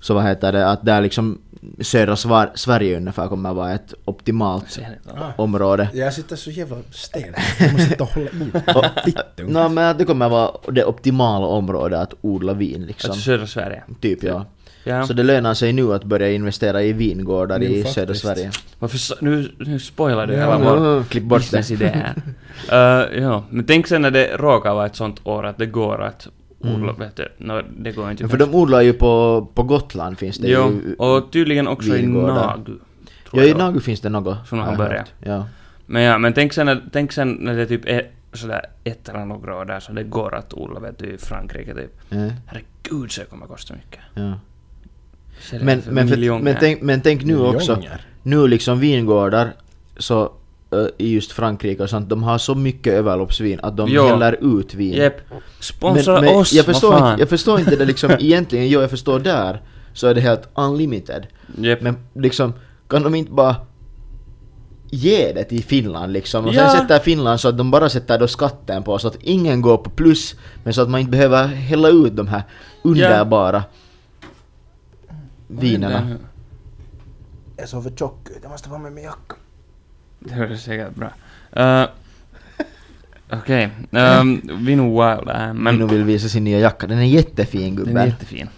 Så vad heter det, att där liksom södra Svar- Sverige ungefär kommer vara ett optimalt
Ser inte.
Ah.
område.
Jag sitter så jävla stel. Jag måste sitta och hålla i. Fittungt.
Nå men att det kommer vara det optimala området att odla vin
Alltså
liksom.
södra Sverige.
Typ ja.
Ja.
Så det lönar sig nu att börja investera i vingårdar
Jo,
i
faktiskt.
södra Sverige.
Varför sa- nu, nu spoilar du
Ja,
hela
nu-
vår
klipp bort det.
businessidé här. Eh, ja, men tänk sen när det råkar vara ett sånt år att det går att odla, vet du. No, det går inte.
Men Mm. för de odlar ju på, på Gotland finns det
Typ. jo,
ju.
och tydligen också i
vingårdar.
Nagu. tror
Ja, i
jag.
Nagu finns det något.
Som de
har
har
jag
börjat.
hört. Ja.
Men ja, men tänk sen, när- tänk sen när det typ är sådär ett eller några grader så det går att odla, vet du, i Frankrike typ.
Ja,
Herregud, så det kommer kosta mycket.
ja.
Säljer
Men,
det för
men, för,
miljoner.
men, tänk, men tänk nu också,
Miljoner.
nu liksom vingårdar så eh, i just Frankrike och sånt, de har så mycket överloppsvin att de
Ja.
häller ut vin.
Jep. Sponsra oss,
jag, förstår
vad
inte,
fan.
jag förstår inte det liksom egentligen, jo jag förstår där så är det helt unlimited.
Jep.
Men liksom, kan de inte bara ge det till Finland liksom? Och
Ja.
sen sätter Finland så att de bara sätter då skatten på så att ingen går på plus, men så att man inte behöver hälla ut de här underbara vinerna.
Jag sover tjock ut. Jag måste vara med min jacka.
Det var säkert bra. Eh, Okej, ehm, vi är nog wild där, men
Minno vill visa sin nya jacka, den är jättefin
den är
gubben.
jättefin.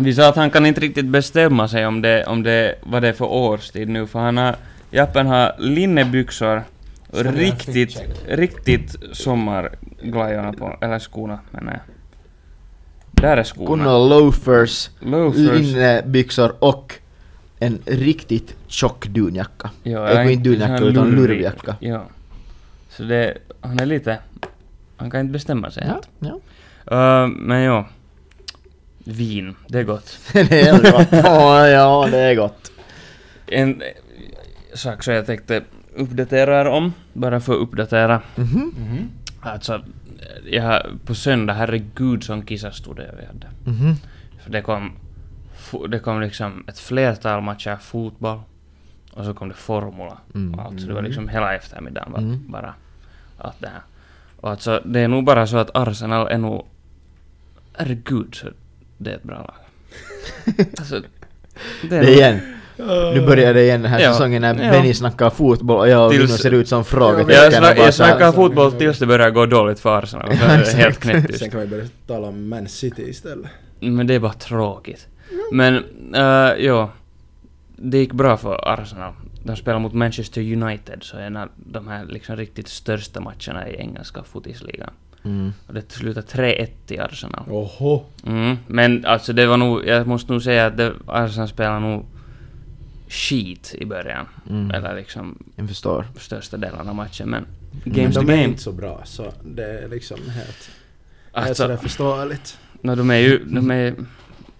Vi sa att han kan inte riktigt bestämma sig om det, om det, vad det är för årstid nu, för han har, Jappen har linnebyxor och
Som jag
riktigt,
fick
riktigt sommarglajjorna på, eller skorna menar jag. Där är skorna.
Kunnon loafers,
Oh, Loafers.
linnebyxor och en riktigt tjock dunjacka.
Jo,
Äh,
jag är
inte dunjacka,
sån här
utan
lurvig.
lurvjacka.
Jo. Så det, han är lite, han kan inte bestämma sig
Ja,
helt.
ja.
Öh, men jo. Vin, det är gott.
det är gott. Ja, ja, det är gott.
En eh, sak som jag tänkte uppdatera er om, bara för att uppdatera.
Mhm.
Alltså, eh, jag, har- på söndag, herregud som kissastudie vi hade.
Mhm.
För det kom, fo- det kom liksom ett flertal matcher fotboll och så kom det formula
Mm.
och allt. Så det var liksom hela eftermiddagen var
Mm.
bara allt det här. Och alltså, det är nog bara så att Arsenal är nog herregud så det är ett bra lag. alltså, det
Det igen. Nu börjar det igen den här
Ja.
säsongen när
Ja.
Benny snackar fotboll och jag och
Tills-
Vinno ser ut som
Jag,
frågetecken.
snack,
och bara
jag
så här- alltså.
snackar fotboll tills det börjar gå dåligt för Arsenal. Så
Ja,
är det
exakt.
helt knäpptyst.
Sen kan vi börja tala om Man City istället.
Men det är bara tråkigt. Men, uh, ja. Det gick bra för Arsenal. De spelar mot Manchester United, så en av de här liksom riktigt största matcherna i engelska fotisligan.
Mm.
Och det slutade 3-1 till Arsenal.
Oho!
Mm, men alltså det var nog, jag måste nog säga att det, Arsenal spelade nog skit i början.
Mm.
Eller liksom
Jag förstår.
största delen av matchen, men...
Men
Games to
Mm. de är
game.
inte så bra, så det är liksom helt... Helt
Alltså,
sådär förståeligt.
No, de är ju... De är,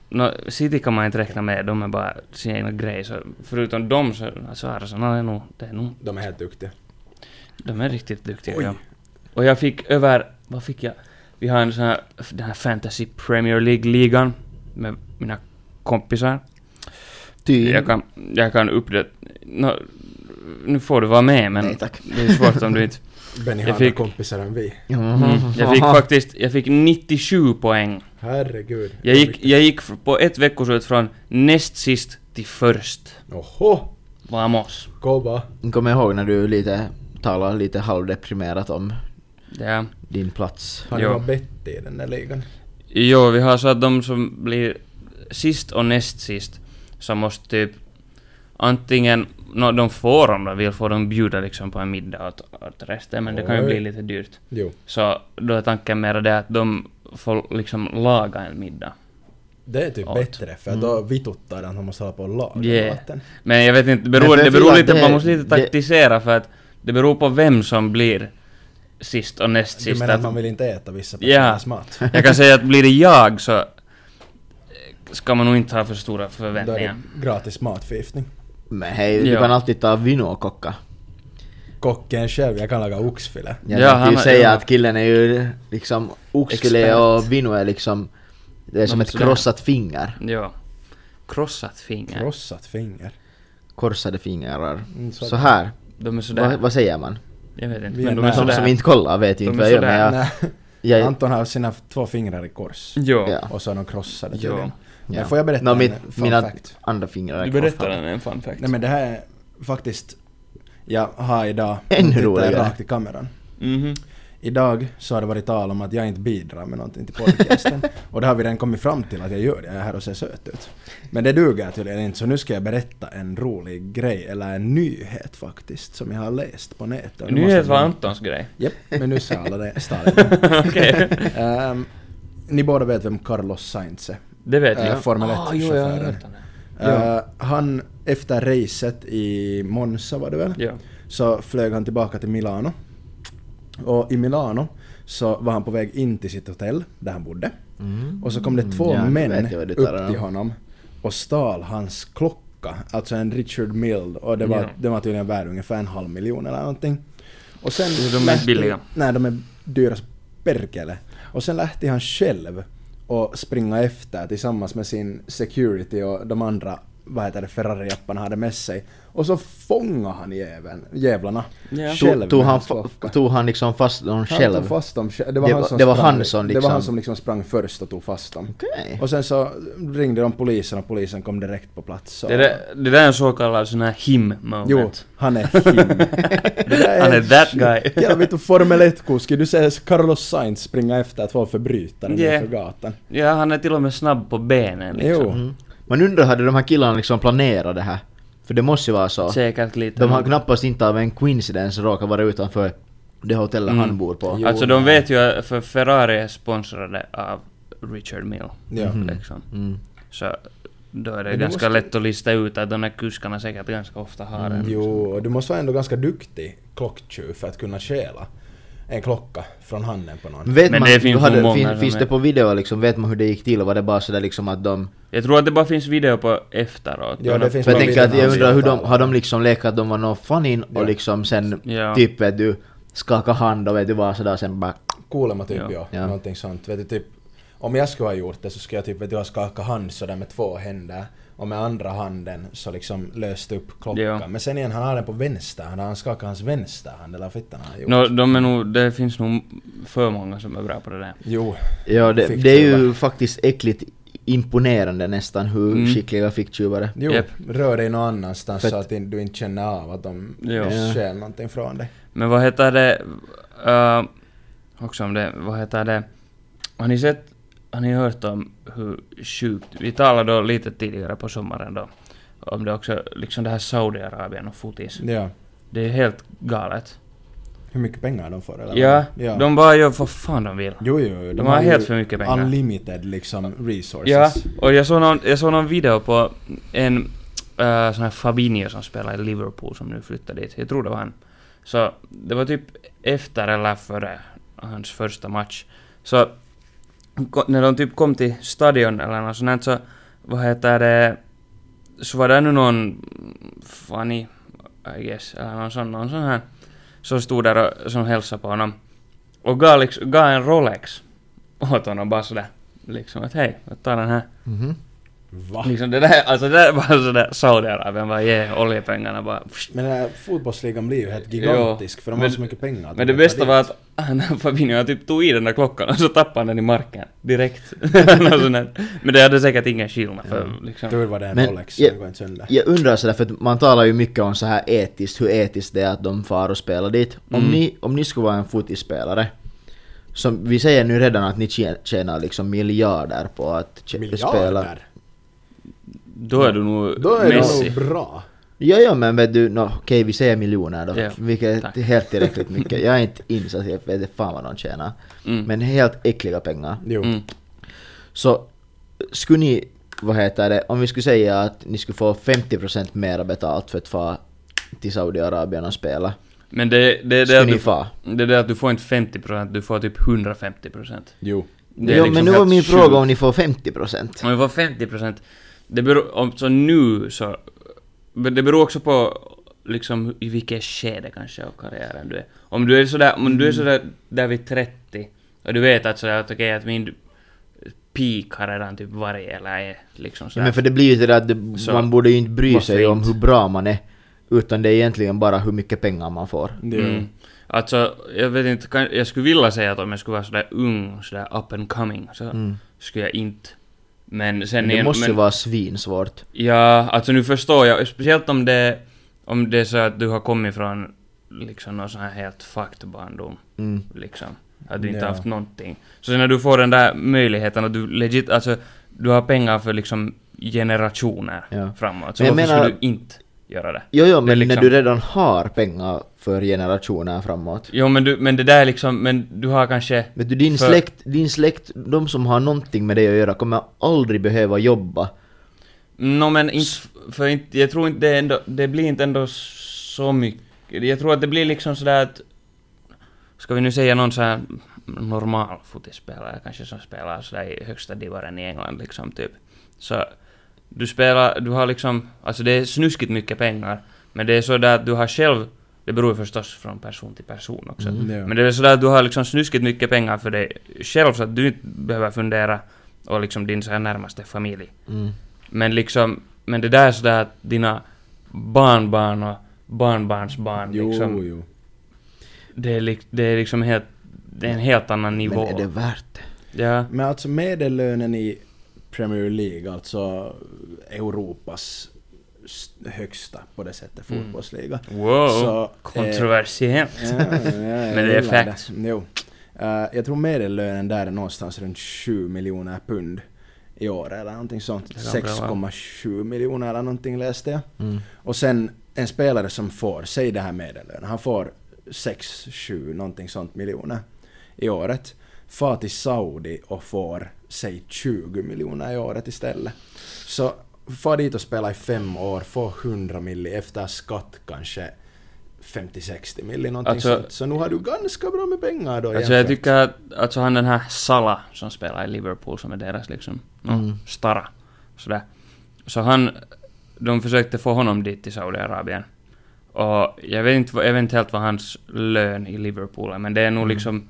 no, City kan man inte räkna med, de är bara sin egna grej. Så förutom dem så... Alltså Arsenal är nog... Det är nog
De är helt duktiga.
de är riktigt duktiga.
Oj.
Ja. Och jag fick över... Vad fick jag? Vi har en sån här... Den här Fantasy Premier League-ligan med mina kompisar.
Ty.
Jag kan, jag kan uppdatera... nå, nu får du vara med men
Nej tack.
det är svårt om du inte...
Benny har
Jag
andra
fick-
kompisar än vi.
Mm. Jag fick
Aha.
faktiskt... Jag fick 97 poäng.
Herregud.
Jag gick, jag gick f- på ett veckoslut från näst sist till först.
Oho!
Vamos.
Koba.
Kommer ihåg när du lite talade lite halvdeprimerat om
Ja.
din plats.
Har ni
Jo.
något bett i den där ligan?
Jo, vi har så att de som blir sist och näst sist, så måste typ antingen, nå de får om de vill, får de bjuda liksom på en middag åt, åt resten, men det kan ju
Oj.
bli lite dyrt.
Jo.
Så då är tanken mera det att de får liksom laga en middag.
Det är typ
Åt.
bättre, för då vituttar den som måste hålla på och laga
Mm. Yeah.
maten.
Men jag vet inte,
Men
det beror,
för
det beror
Finland,
lite,
det-
man måste lite
det-
taktisera för att det beror på vem som blir sist och näst
Du
sist.
menar att
Att-
man vill inte äta vissa
Ja.
personers mat?
Jag kan säga att blir det jag så ska man nog inte ha för stora
Då är det
förväntningar.
gratis matförgiftning.
Men hej, du
Ja.
kan alltid ta Vino och kocka.
Kocken själv, jag kan laga oxfilé.
Jag
Ja,
tänkte
han
ju
har-
säga
ja.
att killen är ju liksom oxfilé
Expert.
och Vino är liksom... Det är som
Men
ett
sådär.
krossat finger.
Ja. Krossat finger.
Krossat finger.
Korsade fingrar.
Mm, så-
Så här.
De är sådär.
Va, vad säger man?
Jag vet inte.
Vi är
Men de är
nära.
Som, som
sådär.
inte kollar vet ju
De
inte
är
vad jag gör men
sådär.
jag...
Nej.
jag
Anton har sina två fingrar i kors.
Jo.
Ja.
Och så är de krossade
Ja.
tydligen.
Ja.
Men får jag berätta
Nå,
en
mitt-
fun
mina
fact?
andra fingrar är
Du berättar
krossade.
en en fun fact.
Nej men det här är faktiskt... Jag har idag...
Ännu
nu tittar jag
roligare.
rakt i kameran.
Mhm.
Idag så har det varit tal om att jag inte bidrar med någonting till podcasten. och det har vi redan kommit fram till att jag gör det. Jag är här och ser söt ut. Men det duger tydligen inte så nu ska jag berätta en rolig grej, eller en nyhet faktiskt, som jag har läst på nätet. Och nu måste
Nyhet
jag-
var Antons grej.
Japp, men nu sa alla det stadigt.
Okej.
Ehm, ni båda vet vem Carlos Sainz är.
Det vet
Äh,
jag.
Formel
Ah, jo, jag har
1-chauffören.
hört om det.
Eh, han, efter racet i Monza var det väl?
Ja.
Så flög han tillbaka till Milano. Och i Milano så var han på väg in till sitt hotell där han bodde.
Mm.
Och så kom det två
Ja, nu
män
vet jag vad du talar
upp till
om.
honom och stal hans klocka. Alltså en Richard Mild. Och det var,
Ja.
den var tydligen värd ungefär en halv miljon eller någonting. Och sen
Så de är inte
lähti-
billiga?
Nej, de är dyra som perkele. Och sen lähti han själv och springa efter tillsammans med sin security och de andra vad heter det, Ferrari-japparna hade med sig. Och så fångade han jäveln, jävlarna.
Ja.
Själv
Tog
med
han,
hans
fa-
klocka.
tog han liksom fast någon
Han
själv?
tog fast dem själv. Det var,
Det
han,
var-
som
det var
sprang,
han som
Det var han
liksom-
som liksom sprang först och tog fast dem.
Okej.
Och sen så ringde de polisen och polisen kom direkt på plats. Så...
Det där, det där är en så kallad sån här him
Jo,
moment.
han är him. Det där
Han är that guy.
Jävlar vet du, Formel 1-kuski, du ser Carlos Sainz springa efter två förbrytare
Yeah.
nerför gatan.
Ja, han är till och med snabb på benen liksom.
Jo.
Mm. Man undrar, hade de här killarna liksom planerat det här? För det måste ju vara så.
Säkert lite.
De har knappast inte av en coincidence råkat vara utanför det hotellet han bor på.
Jo,
alltså
nej.
de vet ju, för Ferrari är sponsrade av Richard Mill.
Ja. Mhm.
Liksom.
Mm.
Så då är det
Men du
ganska
måste-
lätt att lista ut att de här kuskarna säkert ganska ofta har en.
Jo, och du måste vara ändå ganska duktig klocktjuv för att kunna stjäla en klocka från handen på någon.
Vet
Men
man,
det finns nog
hade,
många
fin,
som
Finns
är-
det på video liksom, vet man hur det gick till? Var det bara sådär liksom att de...
Jag tror att det bara finns video på efteråt.
Ja,
Men
det
att-
finns
För jag
bara
tänker att
videon
jag undrar hur de,
avslutar.
har de liksom lekt att de var någon fan in
Ja.
och liksom sen
Ja.
typ vet du skaka hand och vet du bara sådär sen bara...
Kuulemma typ
Ja.
ja,
Ja.
någonting sånt. Vet du, typ, Om jag skulle ha gjort det så skulle jag typ vet du, ha skakat hand sådär med två händer och med andra handen så liksom löst upp klockan.
Ja.
Men sen igen, han har den på vänster, han har skakat hans vänster hand eller vad fittan han har gjort.
No, de är nog, det finns nog för många som är bra på det där.
Jo.
Ja, det,
Fick
det är
tjuvar.
ju faktiskt äckligt imponerande nästan hur
Mm.
skickliga ficktjuvar är.
Jo,
Japp.
rör dig någon annanstans
För
så
att-
att in- du inte känner av att de
Ja.
stjäl någonting från dig.
Men vad heter det... eh, också om det, vad heter det... Har ni sett... Har ni hört om hur sjukt... Vi talade då lite tidigare på sommaren då. Om det också, liksom det här Saudiarabien och fotis.
Ja.
Det är helt galet.
Hur mycket pengar de får eller?
Ja,
vad? ja.
de bara gör vad fan de vill.
Jo, jo, jo.
De har helt
ju
för mycket pengar.
Unlimited liksom resources.
Ja, och jag såg någon, jag såg någon video på en eh, sån här Fabinho som spelar i Liverpool som nu flyttar dit. Jag tror det var han. Så det var typ efter eller före hans första match. Så ko- när de typ kom till stadion eller något sånt här, så vad heter det, så var det nu någon funny, I guess, eller någon sån, någon sån här som stod där och som hälsade på honom. Och gav, liksom, gav en Rolex åt honom bara sådär. Liksom att hej, ta den här.
Mhm.
Va?
Liksom det där, alltså det där var sådär Saudiarabien bara ge oljepengarna bara. Psh.
Men den här fotbollsligan blir ju helt gigantisk för de har
men-
så mycket pengar. att
Men det
de
bästa
tar
var
dit.
att han, Fabinho han typ tog i den där klockan och så tappade han den i marken direkt. Något sånt där. Men det hade säkert ingen skillnad för liksom.
Tur var det en
Men-
Rolex,
ja.
det går inte sönder.
Jag undrar sådär, för att man talar ju mycket om så här etiskt, hur etiskt det är att de far och spelar dit. Om,
Mm.
ni, om ni skulle vara en fotispelare, som vi säger nu redan att ni tjä- tjänar liksom miljarder på att tjä- spela.
Miljarder!
Då är du nog
Då är
Messi.
det nog bra.
Ja, ja, men vet du, no, okej vi säger miljoner då,
Ja,
vilket
tack.
är helt tillräckligt mycket. Jag är inte insatt, jag vet inte fan vad de tjänar.
Mm.
Men helt äckliga pengar.
Jo.
Mm.
Så skulle ni, vad heter det, om vi skulle säga att ni skulle få 50% mer betalt för att få till Saudiarabien och spela.
Men det, det, det,
Skulle
är
ni
du,
få?
det är det att du får inte 50%, du får typ 150%.
Jo.
Det är
jo,
liksom
men nu var
helt
min
sjukt. Mm.
fråga om ni får 50%.
Om vi får 50 procent, det beror, om, så nu så, men det beror också på liksom i vilket skede kanske av karriären du är. Om du är sådär, om
Mm.
du är sådär där vid 30 och du vet att sådär att okej att min peak har redan typ varit eller är liksom
Ja,
sådär.
men för det blir ju det där att det-
Så-
man borde ju inte bry
Varför
sig om
inte?
hur bra man är. Utan det är egentligen bara hur mycket pengar man får.
Jo.
Mm. Alltså, jag vet inte, kan, jag skulle vilja säga att om jag skulle vara sådär ung, sådär up and coming, så
Mm.
skulle jag inte. Men sen
Men det
igen-
måste ju
men-
vara svinsvårt.
Ja, alltså nu förstår jag. Speciellt om det, om det är så att du har kommit från liksom någon sån här helt fucked barndom.
Mm.
Liksom. Att du inte
Ja.
haft någonting. Så sen när du får den där möjligheten att du legit, alltså du har pengar för liksom generationer
Ja.
framåt. Så
Men jag
varför
menar-
skulle du inte göra det?
Jo, jo,
Det är
men
liksom-
när du redan har pengar för generationer framåt.
Jo men, du, men det där är liksom, men du har kanske...
Vet du, din,
För-
släkt, din släkt, de som har någonting med dig att göra kommer aldrig behöva jobba.
Nå men inte, för inte, jag tror inte det är ändå, det blir inte ändå så mycket. Jag tror att det blir liksom sådär att, ska vi nu säga någon sån här normal fotispelare kanske som spelar sådär i högsta divaren i England liksom typ. Så du spelar, du har liksom, alltså det är snuskigt mycket pengar, men det är sådär att du har själv, det beror ju förstås från person till person också.
Mm.
Men det är sådär att du har liksom snuskigt mycket pengar för dig själv så att du inte behöver fundera och liksom din så här närmaste familj.
Mm.
Men liksom, men det där är sådär att dina barnbarn och barnbarnsbarn
Jo,
liksom,
jo.
det är, lik- det är liksom helt, det är en helt annan
Men
nivå.
är det värt det?
Ja.
Men alltså medellönen i Premier League, alltså Europas st- högsta på det sättet
Mm.
fotbollsliga.
Wow,
Så, eh,
eh,
kontroversiellt.
Ja, ja, jag
Men det är
gillar
facts.
det. Jo. Eh, jag tror medellönen där är någonstans runt 7 miljoner pund i år eller någonting sånt.
Det kan bra vara.
6,7 miljoner eller någonting läste jag.
Mm.
Och sen en spelare som får, säg det här medellön, han får 6, 7, någonting sånt miljoner i året. Far till Saudi och får, säg 20 miljoner i året istället. Så far dit och spela i fem år, få 100 miljoner efter skatt kanske 50-60 miljoner någonting
Alltså-
sånt. Så nu har du ganska bra med pengar då
Alltså jag
jämfört.
tycker att, alltså han den här Sala som spelar i Liverpool som är deras liksom, no,
Mm.
stara. Sådär. Så han, de försökte få honom dit till Saudiarabien.
Mm.
Och jag vet inte, vad- jag vet inte helt vad hans lön i Liverpool är, men det är nog liksom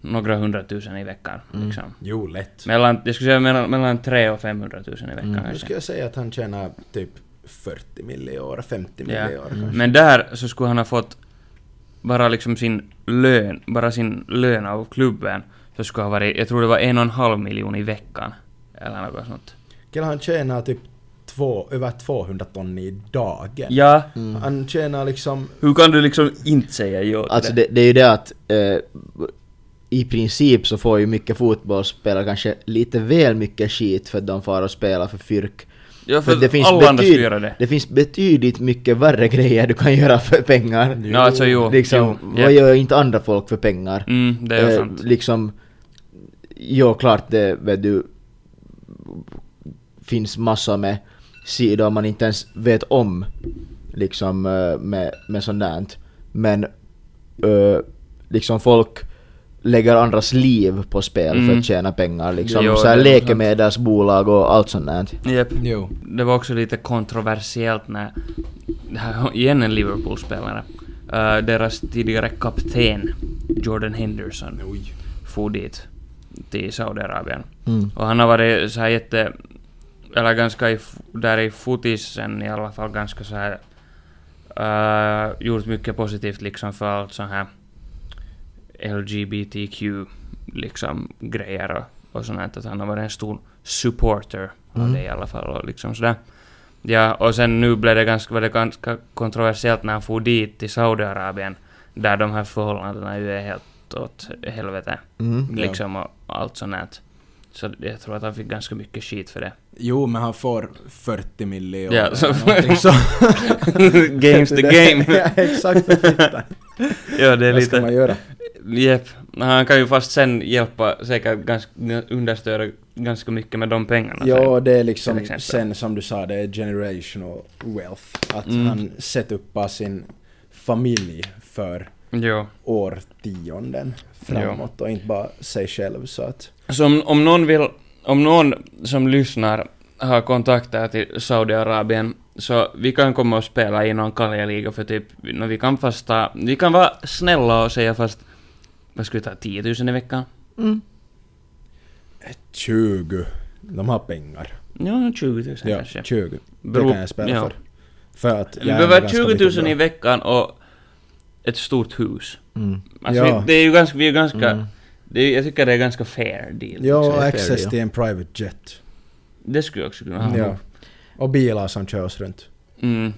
några hundratusen i veckan. Liksom.
Jo, lätt.
Mellan, jag skulle säga mellan, mellan 300 och 500 tusen
Mm.
i veckan
Nu
kanske.
skulle jag säga att han tjänar typ 40 miljoner, 50
Ja. Mm.
miljoner kanske.
Men där så skulle han ha fått bara liksom sin lön, bara sin lön av klubben, så skulle ha varit, jag tror det var en och en halv miljon i veckan. Eller något sånt.
Kille han tjänar typ två, över 200 ton i dagen.
Ja,
Han tjänar liksom...
hur kan du liksom inte säga ja till
Alltså det, det är ju det att eh, i princip så får ju mycket fotbollsspelare kanske lite väl mycket skit för att de far och spelar för fyrk.
Ja, för
Men det finns,
alla andra
betyd-
skulle göra det.
det finns betydligt mycket värre grejer du kan göra för pengar.
No, alltså jo.
Liksom,
jo,
vad
ja.
gör inte andra folk för pengar?
Mm, det är
Eh,
sant.
Liksom, jo klart det vet du, finns massor med sidor man inte ens vet om. Liksom eh, med, med sånt där. Men eh, liksom folk lägger andras liv på spel för
Mm.
att tjäna pengar. Liksom,
Jo,
så här
det är sant.
läkemedelsbolag och allt sånt där.
Jep.
Jo.
Det var också lite kontroversiellt när, det här var igen en Liverpool-spelare, Eh, deras tidigare kapten Jordan Henderson
Oj.
for dit till Saudiarabien.
Mm.
Och han har varit så här jätte, eller ganska i, f- där i fotisen i alla fall ganska så här, eh, gjort mycket positivt liksom för allt så här LGBTQ liksom grejer och, och sånt här, att han har varit en stor supporter av
Mm.
det i alla fall och liksom sådär. Ja, och sen nu blev det ganska, var det ganska kontroversiellt när han for dit till Saudiarabien där de här förhållandena ju är helt åt helvete
Mm.
Ja.
liksom och allt sånt här. Så jag tror att han fick ganska mycket skit för det.
Jo, men han får 40 miljoner.
Ja, så-
eller någonting så.
Game's the game.
ja, exakt. vad fittan.
ja, det är
Vad ska man
lite...
göra?
Jep. Han kan ju fast sen hjälpa, säkert ganska, understöda ganska mycket med de pengarna.
Ja,
sen.
det är
till
liksom
exempel.
sen som du sa, det är generational wealth. Att
Mm.
han sätter upp bara sin familj för
Jo.
årtionden framåt och inte bara sig själv så att...
Så om, om någon vill, om någon som lyssnar har kontakter till Saudiarabien så vi kan komma och spela i någon kaljaliga för typ, no, vi kan fast ta, vi kan vara snälla och säga fast, vad ska vi ta, 10 000 i veckan?
20. De har pengar.
Ja, 20 000
Ja,
kanske.
20. Det
Beror-
kan jag spela
ja.
för. För att
Vi
är
behöver
ganska
20 000 i
liten bra.
veckan och ett stort hus.
Mm.
Alltså
Ja.
vi- det är ju ganska, vi är ganska,
Mm.
det är, jag tycker det är ganska fair deal.
Ja, och
Fair
access
deal.
till en private jet.
Det skulle jag också kunna ha.
Ja. Och bilar som kör oss runt.
Mm.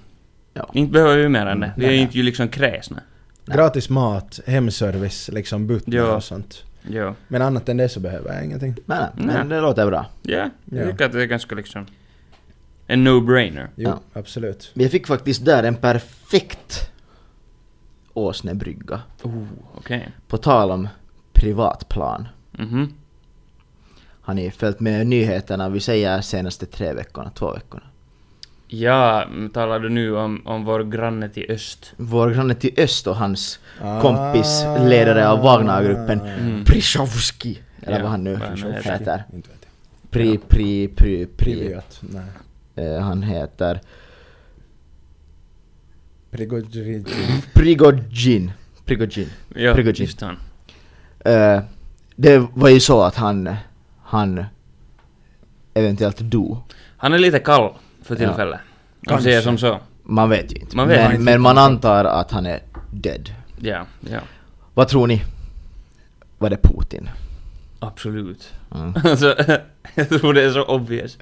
Ja.
Inte behöver vi mer än det. Vi
Nej,
är ju
Mm. nej.
inte ju liksom kräsna.
Nej.
Gratis mat, hemservice, liksom butner
Ja.
och sånt.
Ja.
Men annat än det så behöver jag ingenting.
Men,
Nej.
men det låter bra.
Ja, jag
Ja.
tycker att det är ganska liksom en no-brainer.
Jo,
Ja.
absolut.
Vi fick faktiskt där en perfekt åsnebrygga.
Oh, okej.
På tal om privatplan.
Mhm.
Har ni följt med nyheterna? Vi säger senaste tre veckorna, två veckorna.
Ja, men talar du nu om, om vår granne till öst?
Vår granne till öst och hans
Ah.
kompis, ledare av Wagnergruppen,
Mm.
Prichovski. Eller
Ja,
vad han nu
vad han nu heter.
heter.
Inte vet jag.
Pri, pri, pri, pri.
Privat. Nej.
Eh, han heter
Prigogine.
Prigogine. Prigogine.
Ja,
Prigogine.
just han.
Eh, det var ju så att han, han eventuellt dog.
Han är lite kall för tillfället. Om man säger
Kanske.
som så.
Man vet ju inte.
Man vet
men,
inte.
men man antar att han är död.
Ja, ja.
Vad tror ni? Var det Putin?
Absolut.
Mm.
Alltså, jag tror det är så obvious.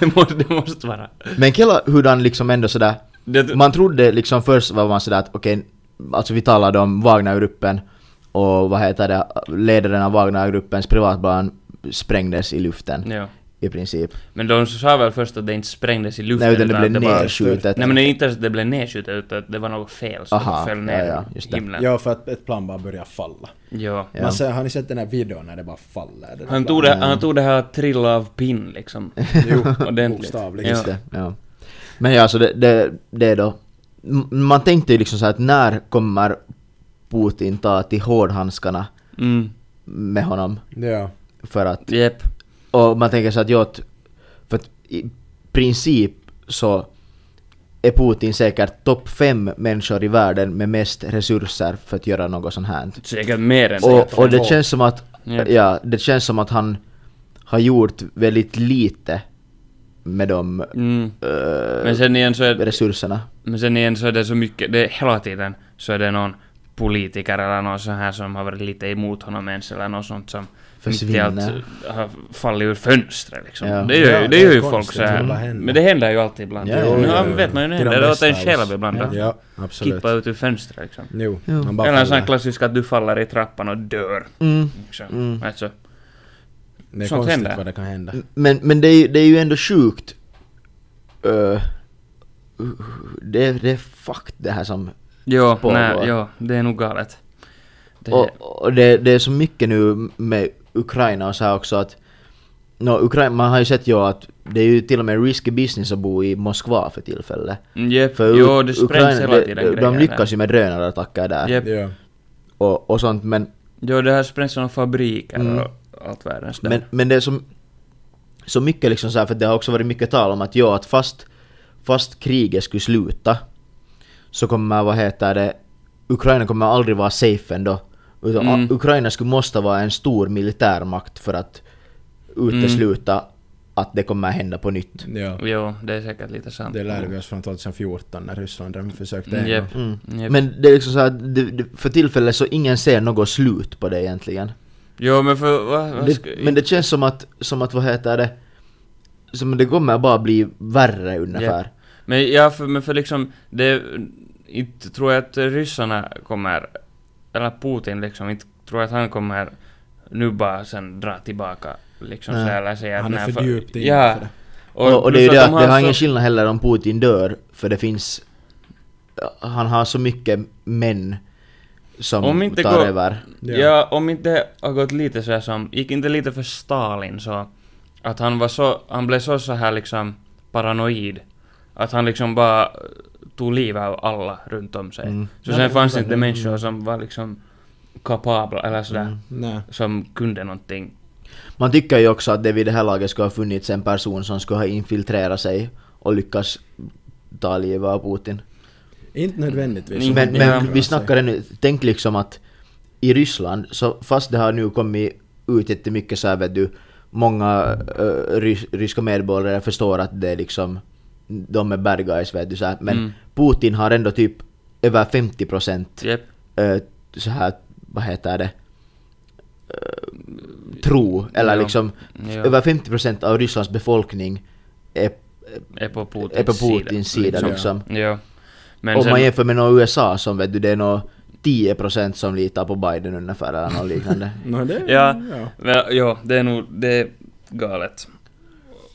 det, måste, det måste vara.
Men killa hur han liksom ändå sådär...
Det,
Man trodde liksom först var man sådär att okej, alltså vi talade om Wagnergruppen och vad heter det, ledaren av Wagnergruppens privatplan sprängdes i luften
ja.
i princip.
Men de sa väl först att det inte sprängdes i luften
Nej utan det blev
att bara-
nedskjutet.
Nej men det är inte ens att det blev nedskjutet utan att det var något fel så
Aha,
det föll
ja,
ner
ja,
i
just det.
himlen.
Ja, för att ett plan bara börjar falla.
Ja.
Ja.
Man ser, har ni sett den här videon när det bara faller? Det där
Han tog, det,
Mm.
han tog det här trilla av pinn liksom.
Jo,
ordentligt.
bokstavligen.
Ja.
Just det, ja. Men ja, så det, det, det är då... M- Man tänkte ju liksom så här att när kommer Putin ta till hårdhandskarna
Mm.
med honom?
Ja.
För att...
Jep.
Och man tänker så att jag... För att i princip så är Putin säkert topp fem människor i världen med mest resurser för att göra något sånt här.
Säkert mer än
Och, och det
två.
känns som att,
Ja.
ja, det känns som att han har gjort väldigt lite med de
Mm.
eh,
Men sen igen så är
resurserna.
Men sen igen så är det så mycket, det, hela tiden så är det någon politiker eller någon sån här som har varit lite emot honom ens eller något sånt som mitt i allt
Försvinner.
har fallit ur fönstret liksom.
Ja.
Det gör,
Ja, det
ju- det
är
gör ju
konstigt,
folk så här.
det bara händer.
Men det händer ju alltid ibland.
Ja,
nu
ja,
ja.
vet man ju nu
Till de
händer det åt
bästa
en
av oss.
själv ibland.
Ja,
att
ja absolut.
Kippa ut ur fönstret liksom.
Mm,
Jo,
Jo.
han bara
Eller en sån här
faller.
klassisk att du faller i trappan och dör.
Mm.
Liksom.
Mm.
Alltså,
Det är
Sånt
konstigt
händer. Mm.
vad det kan hända.
Men, men det, är, ju- det är ju ändå sjukt. Eh, det, är- det är fucked det här som...
jo,
Spår
nej,
bara.
jo, det är nog galet. Det,
Och, och det, det är så mycket nu med Ukraina och så här också att... nå Ukraina, man har ju sett ju att det är ju till och med risky business att bo i Moskva för tillfället.
Jep,
För
jo,
Uk-
det sprängs hela
de-
tiden
de,
grejer
de
där.
lyckas ju med drönarattacker där
Jep.
Ja.
och, och sånt men,
Jo, det här sprängs några fabriker
Mm.
och allt världens där.
men, men det är så, så mycket liksom så här, för det har också varit mycket tal om att ja, att fast, fast kriget skulle sluta så kommer, vad heter det, Ukraina kommer aldrig vara safe ändå. Utan
Mm.
a- Ukraina skulle måste vara en stor militärmakt för att utesluta
Mm.
att det kommer hända på nytt.
ja.
Jo, det är säkert lite sant.
Det lärde vi oss från 2014 när Ryssland försökte
Mm,
en
Jep.
gång.
Mm.
Jep.
Men det är liksom så här, det, det, för tillfället så ingen ser något slut på det egentligen.
Jo, men för... Va, va,
det,
ska,
men det känns som att, som att vad heter det, som det kommer bara bli värre ungefär.
men, ja, för, men för liksom... Det, inte tror jag att ryssarna kommer... Eller Putin liksom, inte tror jag att han kommer nu bara sen dra tillbaka. Liksom
Nej.
så här, eller säga att
Han är
nej,
för djupt inne
ja,
för det.
Och, och det är ju
plus
det att
de
det har
så-
ingen skillnad heller om Putin dör, för det finns, han har så mycket män som
Om inte
tar
går-
över.
Ja.
Ja. om inte det har gått lite så här som, gick inte lite för Stalin så, att han var så, han blev så så här liksom paranoid, att han liksom bara eh, tog livet av alla runt om sig.
Mm.
Så
Ja,
sen
det
fanns
var
inte
det.
människor som var liksom kapabla eller sådär,
Nej.
som kunde någonting.
Man tycker ju också att det vid det här laget skulle ha funnits en person som skulle ha infiltrerat sig och lyckats ta livet av Putin.
Inte nödvändigtvis.
Mm,
Men,
ja.
men vi snackade nu, tänk liksom att i Ryssland, så fast det har nu kommit ut jättemycket så här vet du, många eh, rys, ryska medborgare förstår att det är liksom, de är bad guys vet du så här, men
Mm.
Putin har ändå typ över 50 procent eh,
Jep.
så här, vad heter det, eh, tro, eller
Ja.
liksom
Ja.
över 50 procent av Rysslands befolkning är,
Är på Putins,
är på Putins sida
liksom.
liksom.
Ja. Men
Om
sen,
man jämför med någon USA som vet du, det är nog 10% som litar på Biden ungefär eller något liknande.
No, det,
Ja.
ja.
Men, jo, det är nog, det är galet.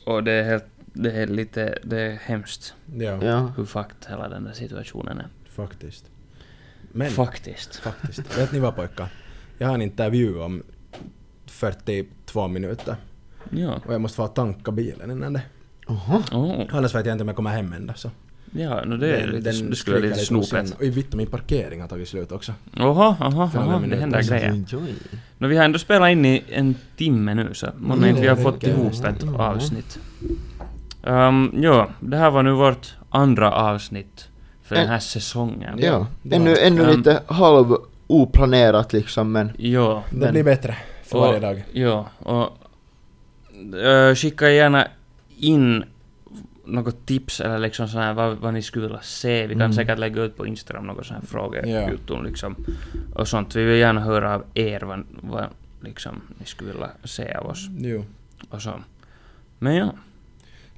Och det är helt, det är lite, det är hemskt.
Ja,
ja.
hur fucked hela den där situationen är.
faktiskt. Men,
Faktiskt.
faktiskt. Vet ni vad pojkar? Jag har en intervju om 42 minuter.
Ja.
Och jag måste få tanka bilen innan det.
Oho.
Oh.
Annars vet jag inte om jag kommer hem ända så.
Ja, no det är
Den-
lite,
den
det skulle vara lite
skriker hos
snopet.
en. Oj vittu, min parkering har tagit slut också.
Oho, oho,
Fem
oho, det
minuter.
händer grejer.
Enjoy.
No vi har ändå spelat in i en timme nu så månne
Jo,
inte vi har
det
fått
kan jag
ihop
säga.
ett
Ja.
avsnitt. Um, jo, det här var nu vårt andra avsnitt för den här säsongen.
Ja.
det var-
Ännu, ännu
Um,
lite halv oplanerat liksom men...
Jo,
Det
Men-
blir bättre för
Och-
varje dag.
Ja, och eh, skicka gärna in något tips eller liksom sån här, vad, vad ni skulle vilja se. Vi kan
Mm.
säkert lägga ut på Instagram något sån här
Ja.
frågejutton liksom. Och sånt. Vi vill gärna höra av er vad, vad liksom ni skulle vilja se av oss.
Jo.
Och så. Men ja,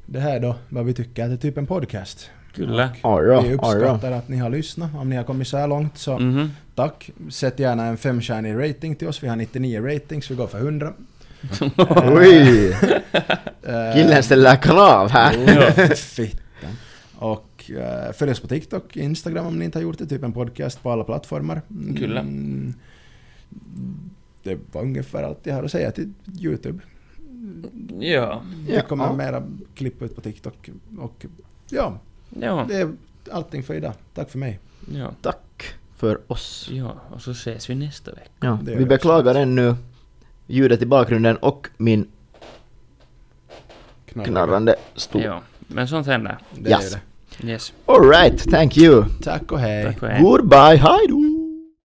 Det här då, vad vi tycker att det är typ en podcast.
kyllä.
Arra,
vi
arra.
uppskattar att ni har lyssnat. Om ni har kommit så här långt så
Mhm.
tack. Sätt gärna en femstjärnig rating till oss. Vi har 99 ratings, vi går för 100.
Oj!
Eh,
Killen ställer krav här.
Jo, Fittan. Och eh, följ oss på TikTok, Instagram om ni inte har gjort det, typ en podcast på alla plattformar. Mm,
Kyllä.
Det var ungefär allt jag har att säga till Youtube.
Ja.
Det kommer
Ja.
mera klipp ut på TikTok. Och ja,
Ja.
det är allting för idag. Tack för mig.
Ja.
Tack för oss.
Ja, och så ses vi nästa vecka.
Ja,
Det är
vi
det
beklagar ännu ljudet i bakgrunden och min
Knarr.
knarrande stol.
Ja. Men sånt händer.
Det är
Yes.
det.
Yes.
Alright, thank you.
Tack och hej.
Tack och hej.
Goodbye, hej då!